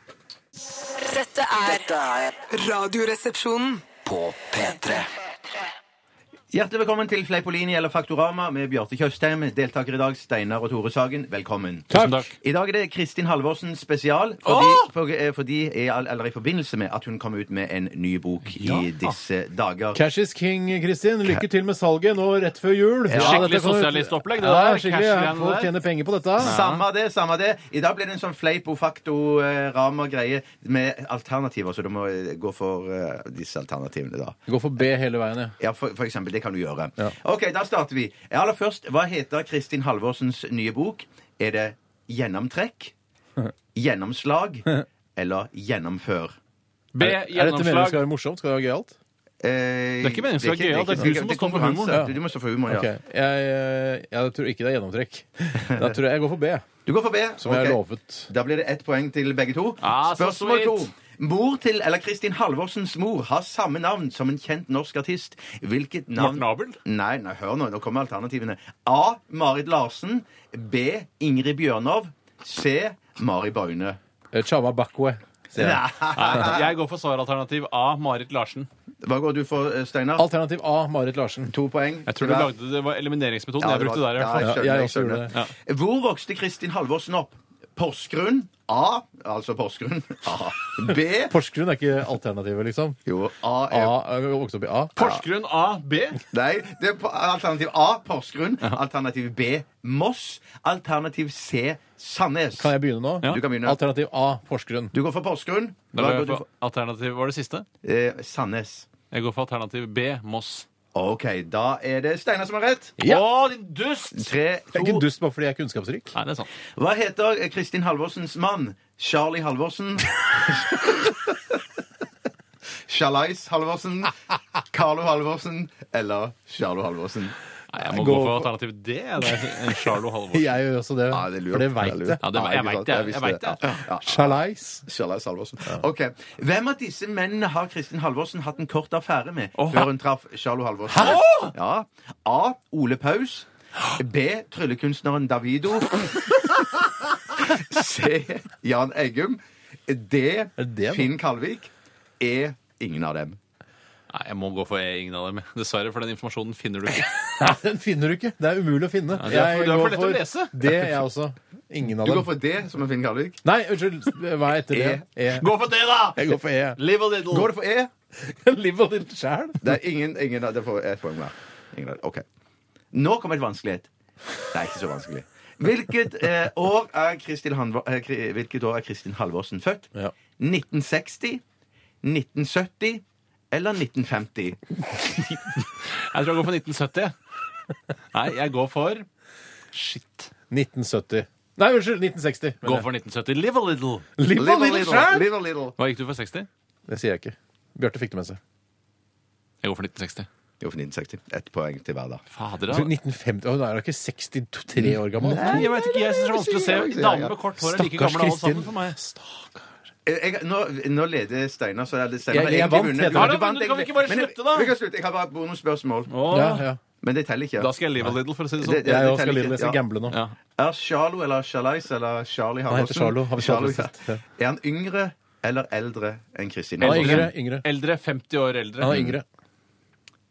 Dette er Dette er Radioresepsjonen. på P3. Hjertelig velkommen til Fleipolini eller Faktorama med Bjarte Tjøstheim. Deltaker i dag Steinar og Tore Sagen. Velkommen. Tusen takk. I dag er det Kristin Halvorsen spesial, fordi, for, eh, fordi i all- eller i forbindelse med at hun kom ut med en ny bok i disse dager. Cash is king, Kristin. Lykke til med salget nå rett før jul. Skikkelig dette kommer- sosialistopplegg, det Ja, der. skikkelig. Ja. Cash-greiene Folk der. tjener penger på dette. Samme det, samme det. I dag ble det en sånn fleipo facto eh, rama greie med alternativer, så du må eh, gå for eh, disse alternativene, da. Gå for B hele veien, ja. Ja, for, for eksempel. Det kan du gjøre. Ja. OK, da starter vi. Aller først, hva heter Kristin Halvorsens nye bok? Er det Gjennomtrekk, Gjennomslag eller Gjennomfør? B. Er dette meningen Gjennomslag. skal være morsomt? Skal det være gøyalt? Det Eh, er ikke meningen skal være gøy, det er du som må det er stå for konkurranse. humoren. Du, du må stå for humor, ja. Ok, Jeg, eh, jeg tror ikke det er gjennomtrekk. Da tror jeg jeg går for B, Du går for B. som jeg Ok. har lovet. Da blir det ett poeng til begge to. Ah, så Spørsmål to. sweet. Mor til eller Kristin Halvorsens mor har samme navn som en kjent norsk artist. Hvilket navn Morten Abel? Nei, nei, hør nå. Nå kommer alternativene. A. Marit Larsen. B. Ingrid Bjørnov. C. Mari Boine. Eh, Chama Bakwe. sier jeg. Nei, Jeg går for svaralternativ A. Marit Larsen. Hva går du for, eh, Steinar? Alternativ A, Marit Larsen. To poeng. Jeg tror du Ja. lagde det var elimineringsmetoden Ja, jeg det brukte var- der. i hvert Ja, fall. jeg skjønner, Ja, jeg jeg også gjorde skjønner. Hvor vokste Kristin Halvorsen opp? Porsgrunn. A. Altså Porsgrunn. A. B. Porsgrunn er ikke alternativet, liksom. Jo, A A, er jeg vokste opp i A. Porsgrunn A. B. Nei, det er på- alternativ A Porsgrunn. Alternativ B Moss. Alternativ C Sandnes. Kan jeg begynne nå? Ja. Du kan begynne. Alternativ A, Porsgrunn. Du går for Porsgrunn. Da Hva går går jeg du for alternativ, var det siste? for? Eh, Sandnes. Jeg går for alternativ B. Moss. OK, da er det Steinar som har rett. Ja. Å, din dust! Tre, Jeg er ikke to. dust bare fordi jeg er kunnskapsrik. Nei, det er sant. Hva heter eh, Kristin Halvorsens mann? Charlie [laughs] Halvorsen. Shalais Halvorsen. Carlo Halvorsen. Eller Charlo Halvorsen. Nei, jeg må Gå gå for for- alternativ D. Det er Charlo Halvorsen. [laughs] Jeg gjør også det, Ja, Ah, det er lurt. for det er veit lurt. jeg. Ja, det- Nei, jeg ikke vet sant. det, jeg visste vet det. Ja, ja. Sjalais. Kjærleis Halvorsen. Ok. Hvem av disse mennene har Kristin Halvorsen hatt en kort affære med Åh. før hun traff Charlo Halvorsen? Ja. A. Ole Paus. B. Tryllekunstneren Davido. C. Jan Eggum. D. det noe? Finn Kalvik. E. Ingen av dem. Nei, jeg må gå for E. Ingen av dem. Dessverre, for den informasjonen finner du ikke. Den finner du ikke. Det er umulig å finne. det er for- det er for går lett å lese. Det er jeg også. Ingen Du av går dem. for D, som er Finn Kalvik. Nei, unnskyld. Hva er etter det? E. Gå for det, da! Jeg går for E. Live a little. Går du for E? [laughs] Liv og ditt sjæl. Det er ingen, ingen av- Det får ett poeng hver. Ingen av dem. OK. Nå kommer et vanskelighet. Det er ikke så vanskelig. Hvilket, eh, år, er Kristin Hanvo- eh, Kri- hvilket år er Kristin Halvorsen født? Ja. 1960, 1970 eller 1950? Jeg tror jeg går for 1970. Nei, jeg går for Shit. 1970. Nei, unnskyld. 1960. Gå for 1970. Live a little. Liv Live a og ditt little, sjæl! live a little. Hva gikk du for 60? Det sier jeg ikke. Bjarte fikk det med seg. Jeg går for 1960. Jo, for 1960. Ett poeng til hver, da. Fader, da. 1950, Å, Hun er da ikke 63 år gammel? Nei, jeg vet ikke. Jeg syns det er vanskelig å se. jeg- jeg- Damer med kort hår er like gamle alle sammen for meg. Eh, Jeg, nå, nå leder Steinar, så er det Steinar. Jeg- har jeg egentlig vant, vunnet. heter det. har- Ja, da, men kan vi ikke bare egentlig. Men jeg- slutte, da? Vi kan slutte. Jeg har bare bonusspørsmål. Åh, Ja, ja. Men det teller ikke. Da skal jeg live a little, for å si det Det- sånn. det- Jeg det òg skal teller litt ikke. lese Ja. gamble nå. Ja. Er Charlo eller Charlize eller Charlie Han heter Halvorsen Charlo, har vi snakket Charlo, om ja. Er han yngre eller eldre enn Kristin Han er Halvorsen? yngre. yngre. Eldre. 50 år eldre. Han er yngre.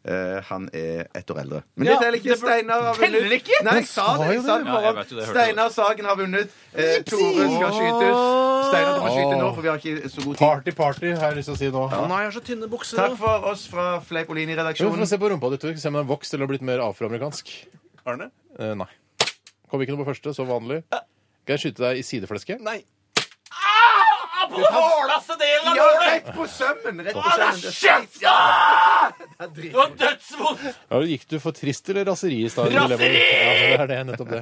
Eh, han er ett år eldre. Men Ja, det teller ikke. det bør- Steinar har vunnet. Teller det ikke? Nei, Men jeg sa det. sa jo Jeg sa det det. Ja, jeg foran. vet jo det, jeg hørte Steinar Sagen har vunnet. Eh, Tore skal skytes. Steinar, du må skyte nå, for vi har ikke så god tid. Party, party, har jeg lyst til å si nå. Nå har jeg så tynne bukser. Takk for oss fra Vi får Fleipolini-redaksjonen. se på rumpa di, Tor. Se om den har vokst eller har blitt mer afroamerikansk. Arne? Eh, nei. Kom ikke noe på første, så vanlig. Kan jeg skyte deg i sideflesket? Nei. Ah, på den hårdeste delen av Ja, nålet! rett på sømmen! Rett på Å, det er sømmen. Det er kjeft! Ah! Det var dødsvondt! Ja, gikk du for trist eller raseri i stad? Raseri! Dilemma? Ja, det er det, nettopp det.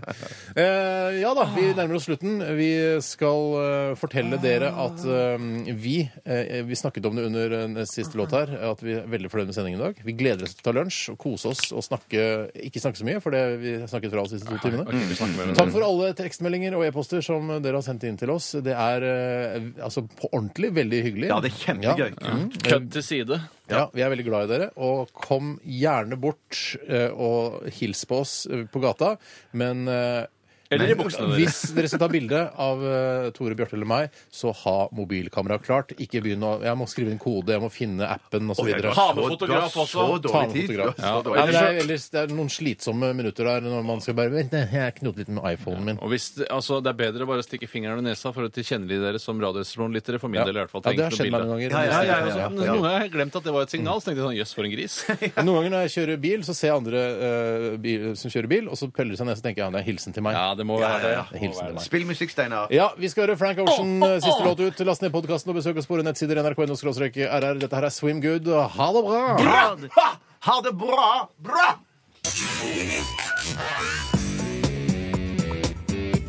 Eh, ja da, vi nærmer oss slutten. Vi skal eh, fortelle dere at eh, vi eh, Vi snakket om det under eh, siste låt her, at vi er veldig fornøyd med sendingen i dag. Vi gleder oss til å ta lunsj og kose oss og snakke Ikke snakke så mye, for det vi har snakket fra oss de siste to timene. Takk for alle tekstmeldinger og e-poster som dere har sendt inn til oss. Det er eh, altså på ordentlig veldig hyggelig. Ja, det er kjempegøy. Ja. Mm. Kødd til side. Ja, vi er veldig glad i dere. Og kom gjerne bort eh, og hils på oss eh, på gata. Men eh, Eller i buksene deres. hvis dere skal ta bilde av eh, Tore, Bjarte eller meg, så ha mobilkameraet klart. Ikke begynn å Jeg må skrive inn kode, jeg må finne appen osv. Jeg Ha har med så- fotograf du har også. Så dårlig tid. Du har så Ja. dårlig Nei, men det, tid. er, ellers, det er noen slitsomme minutter der når man skal bare Vent, jeg er knotet litt med iPhonen min. Og hvis, det- altså, Det er bedre å bare stikke fingeren i nesa for å tilkjennelig dere som radioresepsjonlyttere. For min Ja. del i hvert fall. Ja, det har Tenk skjedd noe meg noen bilde. ganger. Ja, ja, ja, ja, ja. Men Noen ganger har jeg glemt at det var et signal. Så tenkte jeg sånn, jøss, for en gris. Men Noen ganger når jeg kjører bil, så ser jeg andre eh, bil, som kjører bil, og så peller de seg ned, så tenker jeg ja, det er hilsen til meg. Ja, det må være det. Det er hilsen til meg. Spill musikk, Steinar. Ja, vi skal høre Frank Ocean, eh, siste låt ut. Last ned podkasten og besøk oss på våre nettsider nrk.no-rr. Dette her er Swim Good. og Ha det bra! Ha det- ha- Ha det bra! Bra!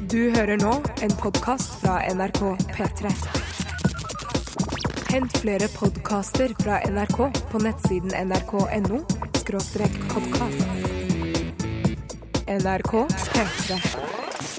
Du hører nå en podkast fra NRK P3. Hent flere podkaster fra NRK på nettsiden nrk.no podkast. NRK P3.